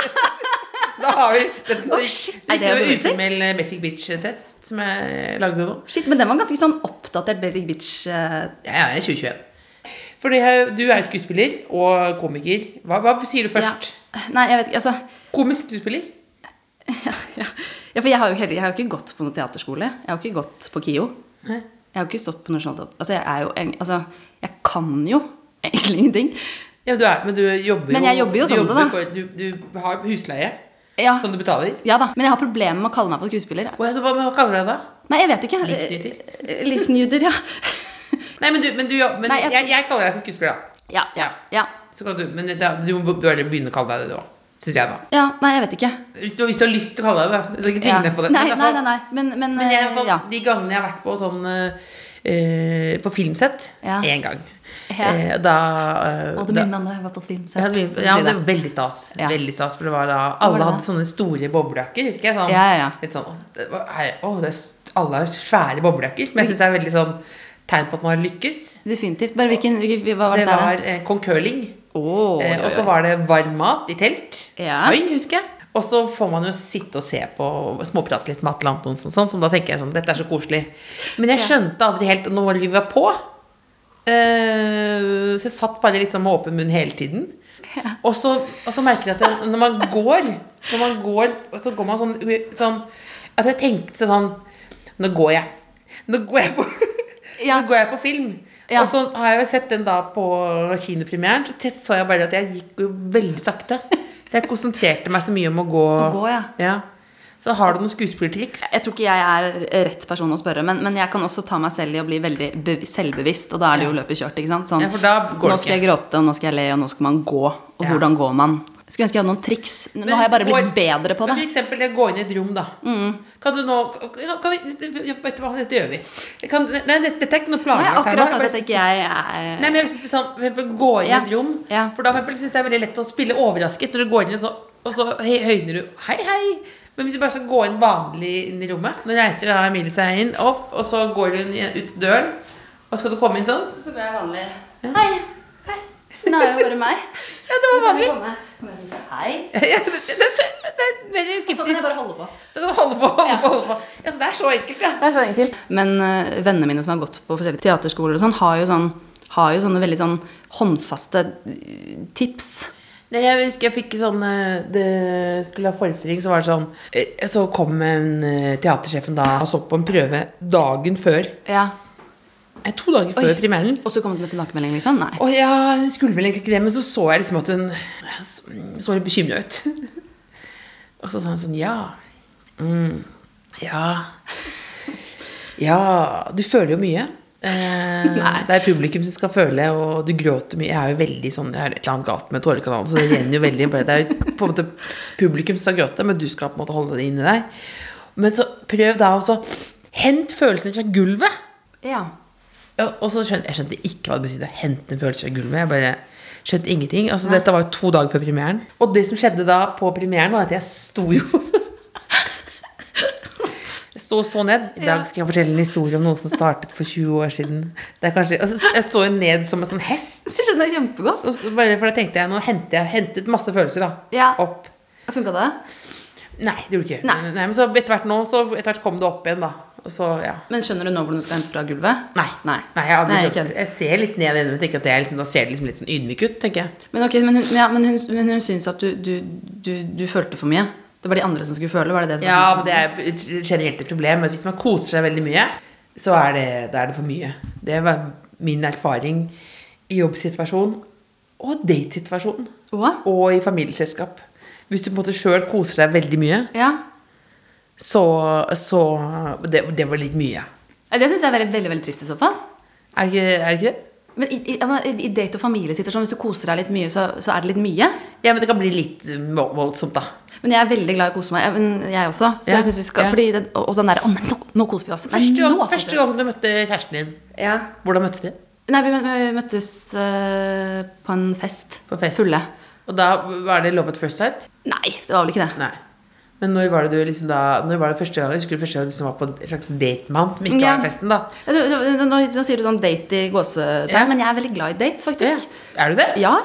[SPEAKER 3] Da har vi den, den,
[SPEAKER 4] er det også basic?
[SPEAKER 3] uformell eh, basic bitch-test som jeg lagde nå.
[SPEAKER 4] Shit, men den var ganske sånn oppdatert basic bitch. eh,
[SPEAKER 3] Ja, ja, jeg er 2021. For det her- eh, du er jo skuespiller og komiker. Hva, hva sier du først?
[SPEAKER 4] Ja. Nei, jeg vet ikke, altså...
[SPEAKER 3] Komisk skuespiller?
[SPEAKER 4] Ja, ja. ja, for jeg har jo heller, jeg har jo ikke gått på noen teaterskole. Jeg har jo ikke gått på KIO. Jeg har jo ikke stått på Nationaltheatret. Altså, jeg er jo eng- altså, jeg kan jo egentlig ingenting.
[SPEAKER 3] Ja, du er, men du jobber
[SPEAKER 4] Men jeg jobber jo
[SPEAKER 3] du
[SPEAKER 4] sånn det, da.
[SPEAKER 3] for- Du, du har husleie
[SPEAKER 4] Ja.
[SPEAKER 3] som du betaler.
[SPEAKER 4] Ja da, men jeg har problemer med å kalle meg for skuespiller.
[SPEAKER 3] Og jeg så, hva, hva kaller du deg da?
[SPEAKER 4] Nei, jeg vet ikke.
[SPEAKER 3] Livsnyter.
[SPEAKER 4] Eh, Livsnyter, ja.
[SPEAKER 3] Nei, men du, men du jobb- men
[SPEAKER 4] Nei,
[SPEAKER 3] jeg,
[SPEAKER 4] jeg-
[SPEAKER 3] jeg, kaller deg for skuespiller, da.
[SPEAKER 4] Ja, ja, ja.
[SPEAKER 3] Så kan du, men da, du må bare begynne å kalle deg det, da. Syns jeg, da.
[SPEAKER 4] Ja, nei, jeg vet ikke.
[SPEAKER 3] Hvis du, hvis du har lyst til å kalle deg det. da. Jeg skal ikke
[SPEAKER 4] Ja.
[SPEAKER 3] tvinge deg på det.
[SPEAKER 4] Nei,
[SPEAKER 3] Men i hvert
[SPEAKER 4] nei,
[SPEAKER 3] fall-
[SPEAKER 4] nei, nei. Men, men,
[SPEAKER 3] Men jeg, har fått-
[SPEAKER 4] eh, ja.
[SPEAKER 3] de gangene jeg har vært på sånn eh, På filmsett
[SPEAKER 4] Ja.
[SPEAKER 3] én gang.
[SPEAKER 4] Ja.
[SPEAKER 3] Eh, og da, eh,
[SPEAKER 4] Å, det
[SPEAKER 3] da
[SPEAKER 4] minner meg om da jeg var på filmsett.
[SPEAKER 3] ja, det var- ja, det var veldig stas.
[SPEAKER 4] Ja.
[SPEAKER 3] Veldig stas For det var da
[SPEAKER 4] Hva var
[SPEAKER 3] alle
[SPEAKER 4] det
[SPEAKER 3] hadde
[SPEAKER 4] da?
[SPEAKER 3] sånne store boblejakker. Husker jeg sånn,
[SPEAKER 4] Ja, ja, ja.
[SPEAKER 3] Litt sånn å, det var- er- å, det er, st- Alle har svære boblejakker. Men jeg syns det er veldig sånn tegn på at man har lykkes.
[SPEAKER 4] Definitivt. Bare hvilken, hvilken hva var
[SPEAKER 3] Det
[SPEAKER 4] det, der?
[SPEAKER 3] var eh, Kong Curling.
[SPEAKER 4] Åh,
[SPEAKER 3] eh, og så var det varm mat i telt.
[SPEAKER 4] Ja.
[SPEAKER 3] Thai, husker jeg. Og så får man jo sitte og se på og småprate litt med Atle Antonsen, og sånn, som da tenker jeg sånn Dette er så koselig. Men jeg skjønte aldri helt når livet var på. Eh, så jeg satt bare litt sånn med åpen munn hele tiden. Og, så, og så merket jeg at jeg, når man går, når man går og så går man sånn, sånn At jeg tenkte sånn Nå går jeg. Nå går jeg på,
[SPEAKER 4] Ja.
[SPEAKER 3] nå går jeg på film.
[SPEAKER 4] Ja.
[SPEAKER 3] Og så har jeg jo sett den da på kinopremieren, så test- så jeg bare at jeg gikk jo veldig sakte. Jeg konsentrerte meg så mye om å gå.
[SPEAKER 4] Å gå, ja.
[SPEAKER 3] Så har du noen skuespillertriks?
[SPEAKER 4] Jeg tror ikke jeg er rett person å spørre, men, men jeg kan også ta meg selv i å bli veldig be selvbevisst, og da er det jo løpet kjørt. ikke sant? Sånn,
[SPEAKER 3] Ja, for da går det
[SPEAKER 4] nå skal jeg gråte, og nå skal jeg le, og nå skal man gå. Og
[SPEAKER 3] Ja.
[SPEAKER 4] hvordan går man? Skulle ønske jeg hadde noen triks. Nå har jeg bare blitt bedre på det. Mm.
[SPEAKER 3] Men for eksempel det å gå inn i et rom, da. Kan du nå kan kan vi, ja, Vet du hva, dette gjør vi. Kan, nei, dette, dette er ikke noe
[SPEAKER 4] Nå har
[SPEAKER 3] planlagt
[SPEAKER 4] jeg
[SPEAKER 3] her nå.
[SPEAKER 4] akkurat sagt at
[SPEAKER 3] bare-
[SPEAKER 4] ikke jeg er
[SPEAKER 3] Nei, men jeg synes det er sånn, for eksempel, Gå inn i
[SPEAKER 4] Ja.
[SPEAKER 3] et rom.
[SPEAKER 4] Ja.
[SPEAKER 3] For da for eksempel, synes jeg det er veldig lett å spille overrasket. Når du går inn i så, Og så høy- høyner du Hei, hei! Men hvis du bare skal gå inn vanlig inn i rommet Nå reiser da Emilie seg inn, opp, og så går hun i- ut døren. Og skal du komme inn sånn?
[SPEAKER 4] Så går jeg vanlig. Hei. Hei. Nå er jo bare meg.
[SPEAKER 3] Ja, det var vanlig.
[SPEAKER 4] Hei.
[SPEAKER 3] Ja, det, det, det, det er veldig
[SPEAKER 4] Og så kan jeg bare
[SPEAKER 3] skeptisk.
[SPEAKER 4] holde på.
[SPEAKER 3] Så kan du holde på, holde på, holde på. Ja, så det er så enkelt, ja.
[SPEAKER 4] Det er så enkelt. Men eh, vennene mine som har gått på forskjellige teaterskoler og sånn, har jo sånn har jo sånne veldig sånn håndfaste eh, tips.
[SPEAKER 3] Nei, jeg husker jeg fikk sånn eh, Det skulle ha forestilling, så var det sånn eh, Så kom en, eh, teatersjefen da og så på en prøve dagen før.
[SPEAKER 4] Ja.
[SPEAKER 3] Nei, to dager før premieren.
[SPEAKER 4] Og så kom det med tilbakemelding, liksom? Nei.
[SPEAKER 3] Og ja, hun skulle vel egentlig ikke det, men så så jeg liksom at hun så- så litt bekymra ut. Og så sa hun sånn Ja. Mm, ja. Ja, du føler jo mye. Eh, Eh,
[SPEAKER 4] Nei.
[SPEAKER 3] det er publikum som skal føle, og du gråter mye. Jeg er jo veldig sånn, jeg har et eller annet galt med tårekanalen, så det renner jo veldig inn på det. Det er jo på en måte publikum som skal gråte, men du skal på en måte holde det inni deg. Men så prøv da også Hent følelsen fra gulvet!
[SPEAKER 4] Ja.
[SPEAKER 3] Ja, Og så skjønte jeg skjønte ikke hva det betydde. Hente en følelse fra gulvet. Jeg bare skjønte ingenting. Altså, dette var jo to dager før premieren. Og det som skjedde da på premieren, var at jeg sto jo Jeg sto så ned. I dag skal jeg fortelle en historie om noe som startet for 20 år siden. Det er kanskje, altså, jeg står jo ned som en sånn hest.
[SPEAKER 4] Det skjønner jeg kjempegodt.
[SPEAKER 3] Så, så bare, for da tenkte jeg, nå henter jeg hentet masse følelser da,
[SPEAKER 4] Ja.
[SPEAKER 3] opp.
[SPEAKER 4] Funka det?
[SPEAKER 3] Nei, det gjorde ikke
[SPEAKER 4] Nei.
[SPEAKER 3] Nei, men så etter hvert nå, så etter hvert kom det opp igjen, da. Og så, ja.
[SPEAKER 4] Men skjønner du nå hvordan du skal hente fra gulvet?
[SPEAKER 3] Nei.
[SPEAKER 4] Nei.
[SPEAKER 3] jeg, har aldri
[SPEAKER 4] Nei,
[SPEAKER 3] skjønt.
[SPEAKER 4] ikke
[SPEAKER 3] jeg ser litt ned ennå, men tenker at jeg liksom, da ser det liksom litt sånn ydmyk ut, tenker jeg.
[SPEAKER 4] Men, ok, men, hun, ja, men, hun, men hun syns at du, du, du, du følte for mye. Det var de andre som skulle føle. Var det det som
[SPEAKER 3] Ja, men det er et generelt et problem. At hvis man koser seg veldig mye, så er det, da er det for mye. Det var min erfaring i jobbsituasjon og datesituasjon.
[SPEAKER 4] Hva?
[SPEAKER 3] Og i familieselskap. Hvis du på en måte sjøl koser deg veldig mye,
[SPEAKER 4] Ja.
[SPEAKER 3] så, så det, det var litt mye.
[SPEAKER 4] Nei, Det syns jeg er veldig, veldig, veldig trist i så fall.
[SPEAKER 3] Er det ikke, er det, ikke det?
[SPEAKER 4] Men i, i, ja, men i- i date- og familiesituasjon, hvis du koser deg litt mye, så, så er det litt mye.
[SPEAKER 3] Ja, men det kan bli litt vo- voldsomt, da.
[SPEAKER 4] Men jeg er veldig glad i å kose meg. Ja, men Jeg også. Så
[SPEAKER 3] Ja,
[SPEAKER 4] jeg synes vi skal,
[SPEAKER 3] ja.
[SPEAKER 4] fordi det, og og sånn der, å, men nå, nå koser vi oss. Nei,
[SPEAKER 3] Første gang,
[SPEAKER 4] nå koser vi
[SPEAKER 3] første
[SPEAKER 4] oss.
[SPEAKER 3] gang du møtte kjæresten din,
[SPEAKER 4] Ja.
[SPEAKER 3] hvordan møttes dere?
[SPEAKER 4] Nei, vi mø- mø- møttes eh, på en fest.
[SPEAKER 3] På fest.
[SPEAKER 4] Fulle.
[SPEAKER 3] Og da var det Love at first sight?
[SPEAKER 4] Nei, det var vel ikke det.
[SPEAKER 3] Nei. Men når var det du liksom da Når var det første gang Husker du første gang du liksom var på en slags date med han? Som ikke
[SPEAKER 4] Ja.
[SPEAKER 3] var i festen, da.
[SPEAKER 4] Ja, du- du- Nå, nå, nå sier du sånn date i gåsetegn,
[SPEAKER 3] Ja.
[SPEAKER 4] men jeg er veldig glad i date,
[SPEAKER 3] Ja.
[SPEAKER 4] faktisk.
[SPEAKER 3] Er du det?
[SPEAKER 4] Ja,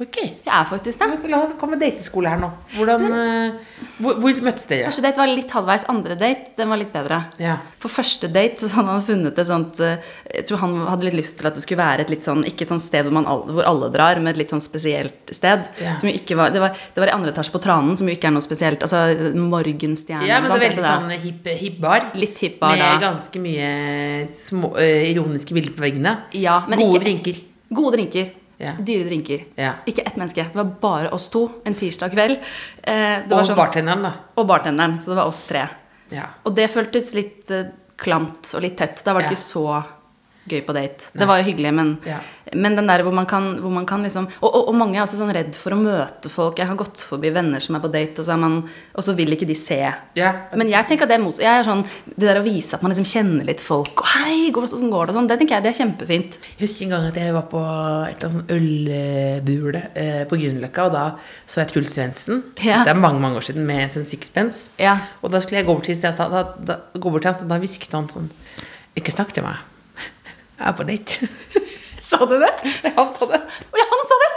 [SPEAKER 3] Ok.
[SPEAKER 4] jeg er faktisk det.
[SPEAKER 3] La oss komme dateskole her nå. Hvordan eh, hvor, hvor møttes dere?
[SPEAKER 4] Første date var litt halvveis. Andre date, den var litt bedre.
[SPEAKER 3] Ja.
[SPEAKER 4] For første date så hadde han funnet et sånt eh, Jeg tror han hadde litt lyst til at det skulle være et litt sånn Ikke et sånt sted hvor, man all, hvor alle drar, men et litt sånn spesielt sted.
[SPEAKER 3] Ja.
[SPEAKER 4] Som jo ikke var, det, var, det var i andre etasje på Tranen, som jo ikke er noe spesielt. Altså Morgenstjerne
[SPEAKER 3] Ja, men det var
[SPEAKER 4] og sånt,
[SPEAKER 3] veldig
[SPEAKER 4] heter
[SPEAKER 3] sånn hipp hip bar.
[SPEAKER 4] Litt hipp bar,
[SPEAKER 3] Med
[SPEAKER 4] da.
[SPEAKER 3] ganske mye små, eh, ironiske bilder på veggene.
[SPEAKER 4] Ja, men
[SPEAKER 3] Gode
[SPEAKER 4] ikke-
[SPEAKER 3] drinker.
[SPEAKER 4] Gode drinker.
[SPEAKER 3] Ja.
[SPEAKER 4] Dyre drinker.
[SPEAKER 3] Ja.
[SPEAKER 4] Ikke ett menneske. Det var bare oss to en tirsdag kveld. Eh, det var
[SPEAKER 3] Og
[SPEAKER 4] sånn-
[SPEAKER 3] bartenderen, da.
[SPEAKER 4] og bartenderen. Så det var oss tre.
[SPEAKER 3] Ja.
[SPEAKER 4] Og det føltes litt eh, klamt og litt tett. Da var det
[SPEAKER 3] Ja.
[SPEAKER 4] ikke så gøy på date. Det var jo hyggelig, men,
[SPEAKER 3] Ja.
[SPEAKER 4] men den der hvor man kan, hvor man kan liksom og, og, og mange er også sånn redd for å møte folk. Jeg har gått forbi venner som er på date, og så, er man, og så vil ikke de se.
[SPEAKER 3] Ja.
[SPEAKER 4] Men jeg tenker at det er mot, jeg er sånn, det der å vise at man liksom kjenner litt folk og 'Hei, går det, hvordan går det?' og sånn, det tenker jeg det er kjempefint.
[SPEAKER 3] Jeg husker en gang at jeg var på et eller annet sånn ølbule eh, på Grünerløkka, og da så jeg Truls Svendsen.
[SPEAKER 4] Ja.
[SPEAKER 3] Det er mange mange år siden, med sånn sixpence.
[SPEAKER 4] Ja.
[SPEAKER 3] Og da skulle jeg gå bort til, da, da, da, gå bort til han, så da hvisket han sånn Ikke snakk til meg. Jeg er på date. sa du det? Ja, han sa det.
[SPEAKER 4] Å ja, han sa det!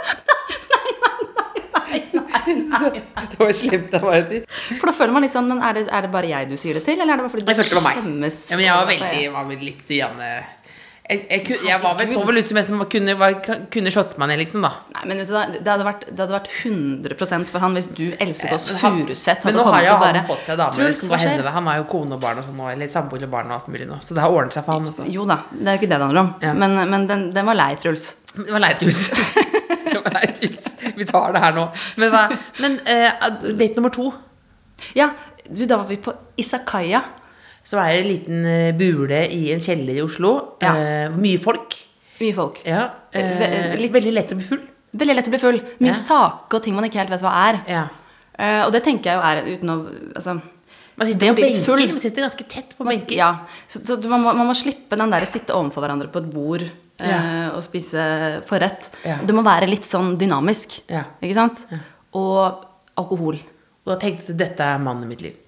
[SPEAKER 4] Nei, nei, nei, nei, nei, nei.
[SPEAKER 3] Det var slemt av meg å si.
[SPEAKER 4] For da føler man litt sånn Men er det, er det bare jeg du sier det til, eller er det bare fordi du
[SPEAKER 3] Jeg følte det var meg.
[SPEAKER 4] skjemmes?
[SPEAKER 3] Ja, men jeg var
[SPEAKER 4] over at det er
[SPEAKER 3] veldig,
[SPEAKER 4] jeg?
[SPEAKER 3] var vel litt grann, eh, jeg, jeg, ku- jeg var vel så vel ut som jeg som kunne, var, kunne slått meg ned, liksom, da.
[SPEAKER 4] Nei, men vet du hva, det hadde, vært, det hadde vært 100 for han hvis du, Else Kåss
[SPEAKER 3] Men han-
[SPEAKER 4] Furuseth,
[SPEAKER 3] Men
[SPEAKER 4] hadde
[SPEAKER 3] nå har
[SPEAKER 4] kommet
[SPEAKER 3] jo han
[SPEAKER 4] og bare
[SPEAKER 3] fått seg dame.
[SPEAKER 4] Truls,
[SPEAKER 3] liksom,
[SPEAKER 4] hva
[SPEAKER 3] hva hender
[SPEAKER 4] skjer?
[SPEAKER 3] det? Han har jo kone og barn og sånn nå, eller samboer og barn og alt mulig nå. Så det har ordnet seg for han. Også.
[SPEAKER 4] Jo da, det er jo ikke det det handler om.
[SPEAKER 3] Ja.
[SPEAKER 4] Men, men den, den var lei, Truls.
[SPEAKER 3] Det var lei, Truls. Det var lei, Truls. Vi tar det her nå. Men, hva, men eh, date nummer to,
[SPEAKER 4] Ja, du, da var vi på Isakaya.
[SPEAKER 3] så er det en liten eh, bule i en kjeller i Oslo.
[SPEAKER 4] Ja.
[SPEAKER 3] Eh, mye folk.
[SPEAKER 4] Mye folk.
[SPEAKER 3] Ja. Eh,
[SPEAKER 4] Ve- litt-
[SPEAKER 3] Veldig lett å bli full.
[SPEAKER 4] Veldig lett å bli full. Mye
[SPEAKER 3] Ja.
[SPEAKER 4] saker og ting man ikke helt vet hva er.
[SPEAKER 3] Ja.
[SPEAKER 4] Eh, og det tenker jeg jo er uten å altså,
[SPEAKER 3] Man sitter
[SPEAKER 4] det å
[SPEAKER 3] på
[SPEAKER 4] bli litt
[SPEAKER 3] benker.
[SPEAKER 4] full
[SPEAKER 3] Man sitter ganske tett på
[SPEAKER 4] Man-
[SPEAKER 3] benker.
[SPEAKER 4] Ja, så, så du, man, må, man må slippe den der sitte overfor hverandre på et bord eh,
[SPEAKER 3] Ja.
[SPEAKER 4] og spise forrett.
[SPEAKER 3] Ja.
[SPEAKER 4] Det må være litt sånn dynamisk,
[SPEAKER 3] Ja.
[SPEAKER 4] ikke sant? Og alkohol.
[SPEAKER 3] Og da tenkte du dette er mannen i mitt liv.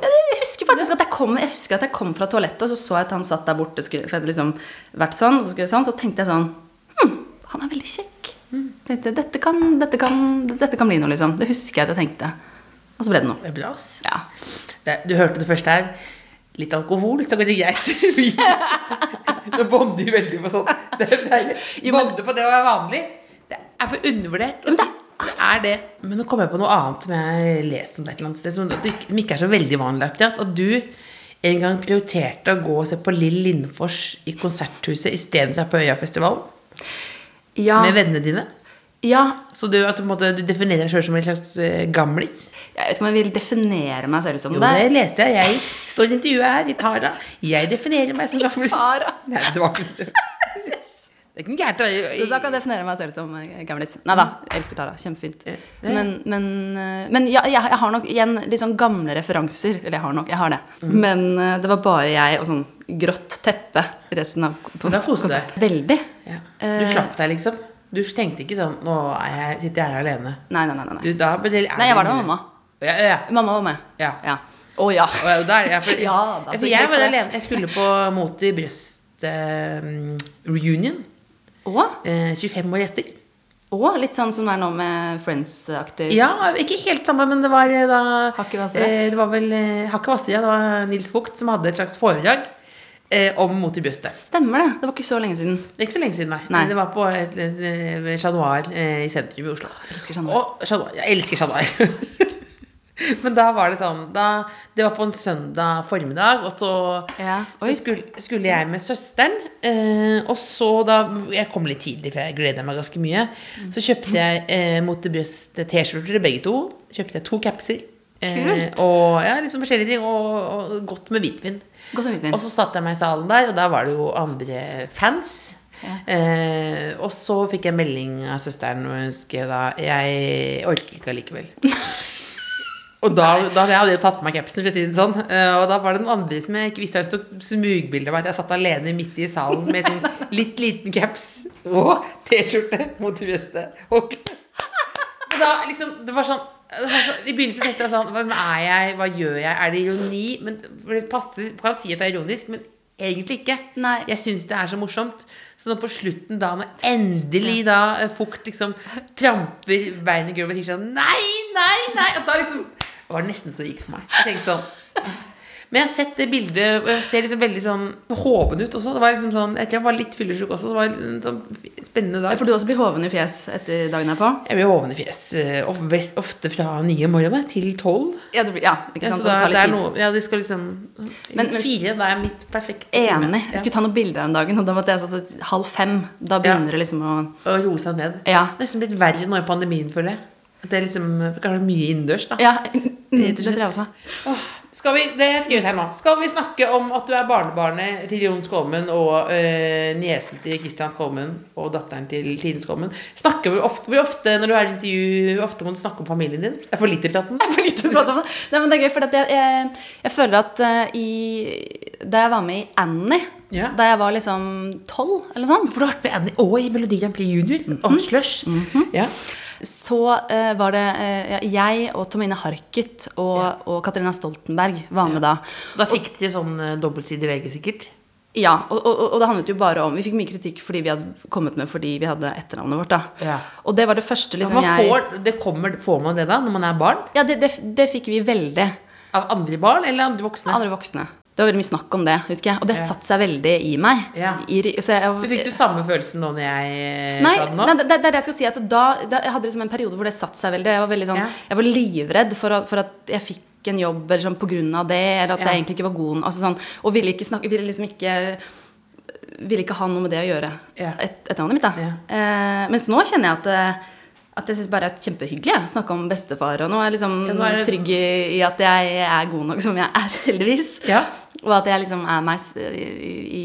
[SPEAKER 4] Jeg husker faktisk at jeg kom, jeg husker at jeg kom fra toalettet, og så så jeg at han satt der borte. Skulle, for jeg hadde liksom vært sånn, og så skulle jeg sånn, så tenkte jeg sånn Hm, han er veldig kjekk.
[SPEAKER 3] Mm.
[SPEAKER 4] Tenkte jeg, dette, kan, dette, kan, dette kan bli noe, liksom. Det husker jeg at jeg tenkte. Og så ble det noe.
[SPEAKER 3] Det er bra, ass.
[SPEAKER 4] Ja.
[SPEAKER 3] Det, du hørte det første her. Litt alkohol, så går det greit. Vi- Nå bonder vi veldig på sånn. Det er deilig.
[SPEAKER 4] Jo, men-
[SPEAKER 3] Bonde på det å være vanlig. Det er for undervurdert. å
[SPEAKER 4] men det-
[SPEAKER 3] si. det er det. Men nå kommer jeg på noe annet som jeg har lest om det et eller annet sted, som, ikke- som ikke er så veldig vanlig akkurat. At du en gang prioriterte å gå og se på Lill Lindfors i Konserthuset istedenfor på Øyafestivalen
[SPEAKER 4] ja.
[SPEAKER 3] med vennene dine.
[SPEAKER 4] Ja,
[SPEAKER 3] Så du, at du, på en måte, du definerer deg sjøl som en slags eh, gamlis?
[SPEAKER 4] jeg vet ikke om jeg vil definere meg selv som
[SPEAKER 3] Jo,
[SPEAKER 4] det.
[SPEAKER 3] det leste jeg. Jeg står i intervjuet her i Tara. Jeg definerer meg som gamlis.
[SPEAKER 4] Tara.
[SPEAKER 3] Nei, det var ikke det. Det er ikke noe gærent å
[SPEAKER 4] Så da kan jeg definere meg selv som eh, gamlis. Nei da, jeg elsker Tara. Kjempefint. Men, men, eh, men ja, jeg, jeg har nok igjen litt sånn gamle referanser. Eller jeg har nok, jeg har det.
[SPEAKER 3] Mhm.
[SPEAKER 4] Men eh, det var bare jeg og sånn grått teppe resten av
[SPEAKER 3] Men da koste du deg.
[SPEAKER 4] Veldig.
[SPEAKER 3] Ja.
[SPEAKER 4] Eh.
[SPEAKER 3] Du slapp deg, liksom? Du tenkte ikke sånn 'Nå er jeg, sitter jeg her alene'?
[SPEAKER 4] Nei, nei, nei. nei,
[SPEAKER 3] Du,
[SPEAKER 4] nei.
[SPEAKER 3] da, ble det- er
[SPEAKER 4] Nei, jeg var
[SPEAKER 3] det-
[SPEAKER 4] der med mamma.
[SPEAKER 3] Ja, ja, ja.
[SPEAKER 4] Mamma var med.
[SPEAKER 3] Ja.
[SPEAKER 4] ja. Å ja.
[SPEAKER 3] Og jeg- og der, jeg, for,
[SPEAKER 4] Ja, da,
[SPEAKER 3] jeg,
[SPEAKER 4] så
[SPEAKER 3] for jeg
[SPEAKER 4] gikk
[SPEAKER 3] var
[SPEAKER 4] det.
[SPEAKER 3] alene. Jeg skulle på Mot i brøst eh, reunion
[SPEAKER 4] Å,
[SPEAKER 3] eh, 25 år etter.
[SPEAKER 4] å, litt sånn som det er nå med Friends-aktig.
[SPEAKER 3] Ja, ikke helt samme, men det var eh, da
[SPEAKER 4] Hakke Vassdrag?
[SPEAKER 3] eh, Det var vel eh, Hakke Vassdrag, ja. Det var Nils Vogt som hadde et slags foredrag eh, om Mot i brøstet.
[SPEAKER 4] Stemmer det. Det var ikke så lenge siden.
[SPEAKER 3] Det er Ikke så lenge siden, nei.
[SPEAKER 4] Nei.
[SPEAKER 3] Det var på et, et, et Chat Noir, eh, i sentrum i Oslo. Jeg
[SPEAKER 4] elsker Chat Noir.
[SPEAKER 3] Og, Chat Noir. Jeg elsker Chat Noir. Men da var det sånn da, Det var på en søndag formiddag, og så,
[SPEAKER 4] Ja. Oi.
[SPEAKER 3] så skulle, skulle jeg med søsteren. Eh, og så da Jeg kom litt tidlig, for jeg gleda meg ganske mye.
[SPEAKER 4] Mm.
[SPEAKER 3] Så kjøpte jeg eh, mot det brøst T-skjorter, begge to. Kjøpte jeg to capser. eh,
[SPEAKER 4] Kult.
[SPEAKER 3] og ja, liksom forskjellige ting. Og, og godt med hvitvin.
[SPEAKER 4] Godt med hvitvin.
[SPEAKER 3] Og så satte jeg meg i salen der, og der var det jo andre fans. Eh, og så fikk jeg melding av søsteren og hun skrev da Jeg orker ikke allikevel. og da, da hadde jeg allerede tatt på meg capsen, for å si det sånn. Eh, og da var det den andre som jeg ikke visste det tok smugbilde av meg at jeg satt alene midt i salen med sånn litt liten caps og T-skjorte mot brystet. Og men da, liksom, det var sånn det var så, I begynnelsen tenkte jeg sånn Hvem er jeg? Hva gjør jeg? Er det ironi? Men for det passer, kan si at det er ironisk, men egentlig ikke.
[SPEAKER 4] Nei.
[SPEAKER 3] Jeg syns det er så morsomt. Så nå på slutten, da når endelig da eh, Fugt liksom tramper beina i gulvet og sier sånn Nei, nei, nei! Og da liksom Det var nesten så det gikk for meg. Jeg tenkte sånn men jeg har sett det bildet, og jeg ser liksom veldig sånn hoven ut også. Det var liksom sånn, Jeg tror jeg var litt fyllesyk også. Det var en sånn spennende dag.
[SPEAKER 4] Eh, For du også blir hoven i fjes etter dagen herpå?
[SPEAKER 3] Jeg blir hoven i fjes eh, of- vest- ofte fra ni om morgenen til tolv.
[SPEAKER 4] Ja, det blir, ja ikke
[SPEAKER 3] Ja,
[SPEAKER 4] sant?
[SPEAKER 3] så da,
[SPEAKER 4] det
[SPEAKER 3] det
[SPEAKER 4] tar
[SPEAKER 3] er
[SPEAKER 4] litt tid.
[SPEAKER 3] noe, ja, det skal liksom
[SPEAKER 4] Men- men-
[SPEAKER 3] Fire, det er mitt perfekte time.
[SPEAKER 4] Enig. Jeg skulle ta noen bilder om dagen, og da måtte jeg sånn så- halv fem. Da begynner
[SPEAKER 3] Ja.
[SPEAKER 4] det liksom å
[SPEAKER 3] ja, Og roe seg ned.
[SPEAKER 4] Ja.
[SPEAKER 3] Nesten blitt verre nå i pandemien, føler jeg. At det er liksom kanskje mye innendørs, da.
[SPEAKER 4] Ja, mm,
[SPEAKER 3] Rett og
[SPEAKER 4] det tror jeg også.
[SPEAKER 3] slett. Åh, Skal vi, det er skrevet her nå. Skal vi snakke om at du er barnebarnet til Jon Skåmen og eh, niesen til Kristian Skåmen og datteren til Tine Skåmen? Snakker vi ofte, hvor ofte når du har intervju, hvor ofte må du snakke om familien din? Det er for lite prat om det.
[SPEAKER 4] For lite å prate om det. Nei, men det er gøy, for at jeg, jeg, jeg føler at eh, i Da jeg var med i Annie,
[SPEAKER 3] Ja.
[SPEAKER 4] da jeg var liksom tolv eller sånn, noe sånt,
[SPEAKER 3] For du har vært med Annie og i Melodi Grand Prix Junior
[SPEAKER 4] Mhm.
[SPEAKER 3] og Slush. ja.
[SPEAKER 4] så eh, var det eh, jeg og Tomine Harket og, og Katarina Stoltenberg var med da.
[SPEAKER 3] Da fikk dere sånn eh, dobbeltside VG, sikkert.
[SPEAKER 4] Ja, og, og, og det handlet jo bare om Vi fikk mye kritikk fordi vi hadde kommet med fordi vi hadde etternavnet vårt. da
[SPEAKER 3] Ja.
[SPEAKER 4] Og det var det første liksom,
[SPEAKER 3] Hva
[SPEAKER 4] jeg
[SPEAKER 3] får, det kommer, får man det da, når man er barn?
[SPEAKER 4] Ja, det, det, det fikk vi veldig.
[SPEAKER 3] Av andre barn eller andre voksne?
[SPEAKER 4] Andre voksne. Det var veldig mye snakk om det, husker jeg. Og det
[SPEAKER 3] Ja.
[SPEAKER 4] satte seg veldig i meg.
[SPEAKER 3] Ja.
[SPEAKER 4] I, så jeg,
[SPEAKER 3] Men Fikk du samme følelsen nå når jeg eh,
[SPEAKER 4] Nei,
[SPEAKER 3] sa det nå?
[SPEAKER 4] nei det, det er det jeg skal si at da, da Jeg hadde liksom en periode hvor det satt seg veldig. Jeg var, veldig sånn,
[SPEAKER 3] Ja.
[SPEAKER 4] jeg var livredd for at, for at jeg fikk en jobb eller sånn, på grunn av det, eller at
[SPEAKER 3] Ja.
[SPEAKER 4] jeg egentlig ikke var god nok. Altså, sånn, og ville ikke snakke Ville liksom ikke Ville ikke ha noe med det å gjøre.
[SPEAKER 3] Ja.
[SPEAKER 4] Et, etternavnet mitt, da. Eh, mens nå kjenner jeg at eh, at jeg syns bare det er kjempehyggelig å snakke om bestefar. Og nå er jeg liksom
[SPEAKER 3] Ja, nå er det-
[SPEAKER 4] trygg i, i at jeg er god nok som jeg er, heldigvis.
[SPEAKER 3] Ja.
[SPEAKER 4] Og at jeg liksom er meg s- i, i,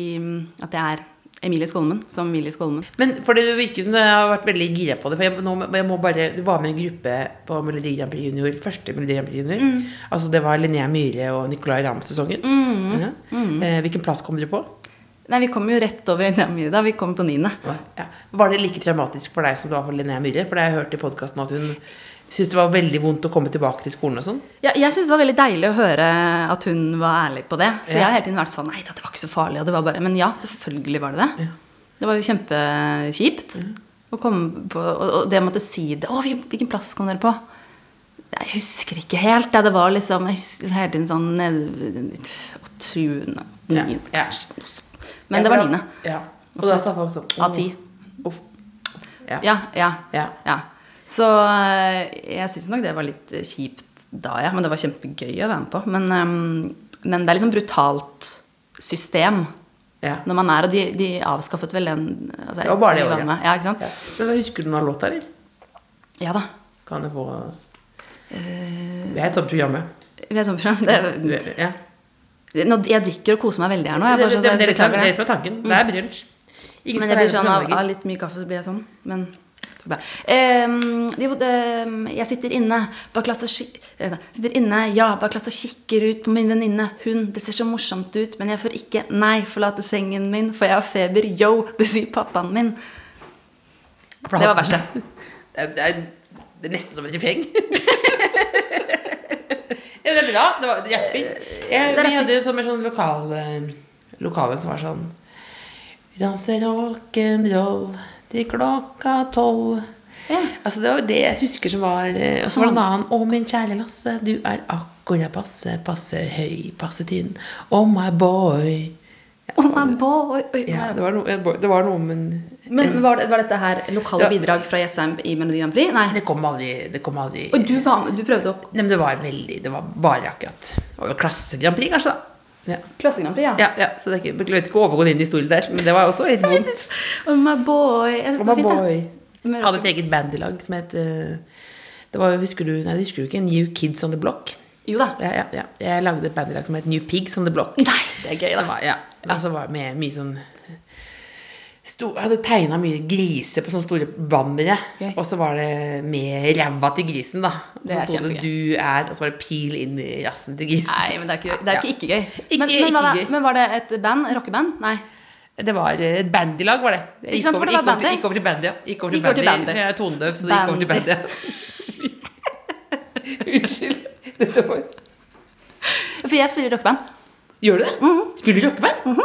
[SPEAKER 4] At jeg er Emilie Skolmen som Emilie Skolmen.
[SPEAKER 3] Men for det virker som du har vært veldig gira på det. For jeg, nå, må- jeg må bare, Du var med i en gruppe på Melodi Grand Prix Junior, første Melodi Grand Prix Junior.
[SPEAKER 4] Mm.
[SPEAKER 3] Altså Det var Linnea Myhre og Nicolay Ramm-sesongen.
[SPEAKER 4] Mm.
[SPEAKER 3] Ja. Eh, hvilken plass kom dere på? Nei,
[SPEAKER 4] Nei, vi kom jo rett over Linnea Myhre da. Vi kom på niende.
[SPEAKER 3] Ja. Var det like traumatisk for deg som det var for Linnea Myhre? For det har jeg hørt i podkasten at hun syntes det var veldig vondt å komme tilbake til skolen og sånn.
[SPEAKER 4] Ja, jeg syns det var veldig deilig å høre at hun var ærlig på det. For
[SPEAKER 3] Ja.
[SPEAKER 4] jeg har hele tiden vært sånn Nei, dette var ikke så farlig. Og det var bare, men ja, selvfølgelig var det det. Det var jo kjempekjipt. Å komme på, og, og det å måtte si det Å, hvil- hvilken plass kom dere på? Jeg husker ikke helt. Ja, det var liksom Jeg husker hele tiden sånn ned- Åttende
[SPEAKER 3] Ja,
[SPEAKER 4] niende,
[SPEAKER 3] ja.
[SPEAKER 4] kanskje. Men det var niende.
[SPEAKER 3] Ja. Og da sa folk sånn
[SPEAKER 4] Av ti.
[SPEAKER 3] «Åh, uff». Ja.
[SPEAKER 4] Ja, ja.
[SPEAKER 3] Ja.
[SPEAKER 4] ja. Så eh, jeg syns nok det var litt eh, kjipt da, ja. Men det var kjempegøy å være med på. Men, ehm, men det er liksom brutalt system
[SPEAKER 3] Ja.
[SPEAKER 4] når man er Og de, de avskaffet vel den altså,
[SPEAKER 3] Det var bare det
[SPEAKER 4] etter vi
[SPEAKER 3] året.
[SPEAKER 4] var med. Ja, ikke sant?
[SPEAKER 3] Ja. Men hva Husker du noen av låta, eller?
[SPEAKER 4] Ja da.
[SPEAKER 3] Kan jeg få
[SPEAKER 4] Eh,
[SPEAKER 3] Vi er et sånt program, ja.
[SPEAKER 4] Vi er et sånt program. Det,
[SPEAKER 3] Vi- ja.
[SPEAKER 4] er- nå, jeg drikker og koser meg veldig her nå. Jeg
[SPEAKER 3] Det,
[SPEAKER 4] bare
[SPEAKER 3] det,
[SPEAKER 4] sånn-
[SPEAKER 3] det, det, er
[SPEAKER 4] jeg
[SPEAKER 3] liksom-
[SPEAKER 4] beklager
[SPEAKER 3] det
[SPEAKER 4] det. Mm.
[SPEAKER 3] som er tanken. Det er brunsj. Ingen skal
[SPEAKER 4] Men jeg blir
[SPEAKER 3] regne på
[SPEAKER 4] sånn av,
[SPEAKER 3] søndager.
[SPEAKER 4] av litt mye kaffe, så blir jeg sånn. Men det går bra. Ehm, de bodde, ehm, jeg sitter inne bak glass og ki- eh, nei, sitter inne, ja, bak glass og kikker ut på min venninne. Hun, det ser så morsomt ut, men jeg får ikke nei, forlate sengen min, for jeg har feber. Yo, det sier pappaen min.
[SPEAKER 3] Bra.
[SPEAKER 4] Det var verset.
[SPEAKER 3] Det er, det er, det er nesten som en refreng. ja, men det er bra. Det var det er rapping. Jeg,
[SPEAKER 4] Det er
[SPEAKER 3] vi
[SPEAKER 4] rapping.
[SPEAKER 3] hadde jo sånn mer sånn lokal, eh, lokale som var sånn Vi danser rock'n'roll til klokka tolv.
[SPEAKER 4] Ja.
[SPEAKER 3] Altså Det var jo det jeg husker som var eh, Og så var det en annen. Å, min kjære Lasse, du er akkurat passe, passe høy, passe tynn. Oh my boy.
[SPEAKER 4] Oh my boy. Oi, oi,
[SPEAKER 3] Ja, det
[SPEAKER 4] hva er det?
[SPEAKER 3] var noe, det var noe men
[SPEAKER 4] Men var, det- var dette her lokale
[SPEAKER 3] Ja.
[SPEAKER 4] bidrag fra Jessheim i Melodi Grand Prix? Nei.
[SPEAKER 3] Det kom aldri, det kom aldri
[SPEAKER 4] Og du, var, med- du prøvde å
[SPEAKER 3] Nei, men det var veldig Det var bare akkurat Det var jo klasse Grand Prix, kanskje, da. Ja.
[SPEAKER 4] Klasse Grand Prix, ja?
[SPEAKER 3] Ja, ja, så det er ikke, jeg vet ikke å overgå din historie der, men det var også litt vondt.
[SPEAKER 4] Oh my boy. Jeg synes
[SPEAKER 3] Og
[SPEAKER 4] det
[SPEAKER 3] man
[SPEAKER 4] var fint,
[SPEAKER 3] Oh boy.
[SPEAKER 4] det. Med
[SPEAKER 3] Hadde et eget band i lag som het eh, Det var jo, husker du Nei, det husker du ikke? New Kids on the Block.
[SPEAKER 4] Jo da.
[SPEAKER 3] Ja, ja, ja. Jeg lagde et band i lag som het New Pigs on the Block.
[SPEAKER 4] Nei, det er gøy, da.
[SPEAKER 3] Som var, ja. Og så var det med mye sånn sto, jeg Hadde tegna mye griser på sånne store bannere.
[SPEAKER 4] Gøy.
[SPEAKER 3] Og så var det med ræva til grisen, da. Og
[SPEAKER 4] Det
[SPEAKER 3] så
[SPEAKER 4] er
[SPEAKER 3] sto det
[SPEAKER 4] kjempegøy.
[SPEAKER 3] 'du er', og så var det 'pil inn i rassen til grisen'.
[SPEAKER 4] Nei, men det er ikke, det er ikke,
[SPEAKER 3] Ja.
[SPEAKER 4] ikke gøy.
[SPEAKER 3] Ikke-
[SPEAKER 4] men, men, var
[SPEAKER 3] ikke
[SPEAKER 4] det,
[SPEAKER 3] gøy.
[SPEAKER 4] men var det et band? Rockeband? Nei.
[SPEAKER 3] Det var eh, et bandylag, var det. Jeg
[SPEAKER 4] Ikke sant, for det
[SPEAKER 3] gikk
[SPEAKER 4] var
[SPEAKER 3] over,
[SPEAKER 4] bandy.
[SPEAKER 3] gikk over til bandy, ja. Gikk over til
[SPEAKER 4] Gikk over
[SPEAKER 3] bandy.
[SPEAKER 4] til bandy.
[SPEAKER 3] Jeg er tondøv, så det gikk over til
[SPEAKER 4] Bandy.
[SPEAKER 3] bandy. ja. Unnskyld. Dette var...
[SPEAKER 4] For jeg spiller i rockeband.
[SPEAKER 3] Gjør du det?
[SPEAKER 4] Mhm.
[SPEAKER 3] Spiller du rockeband?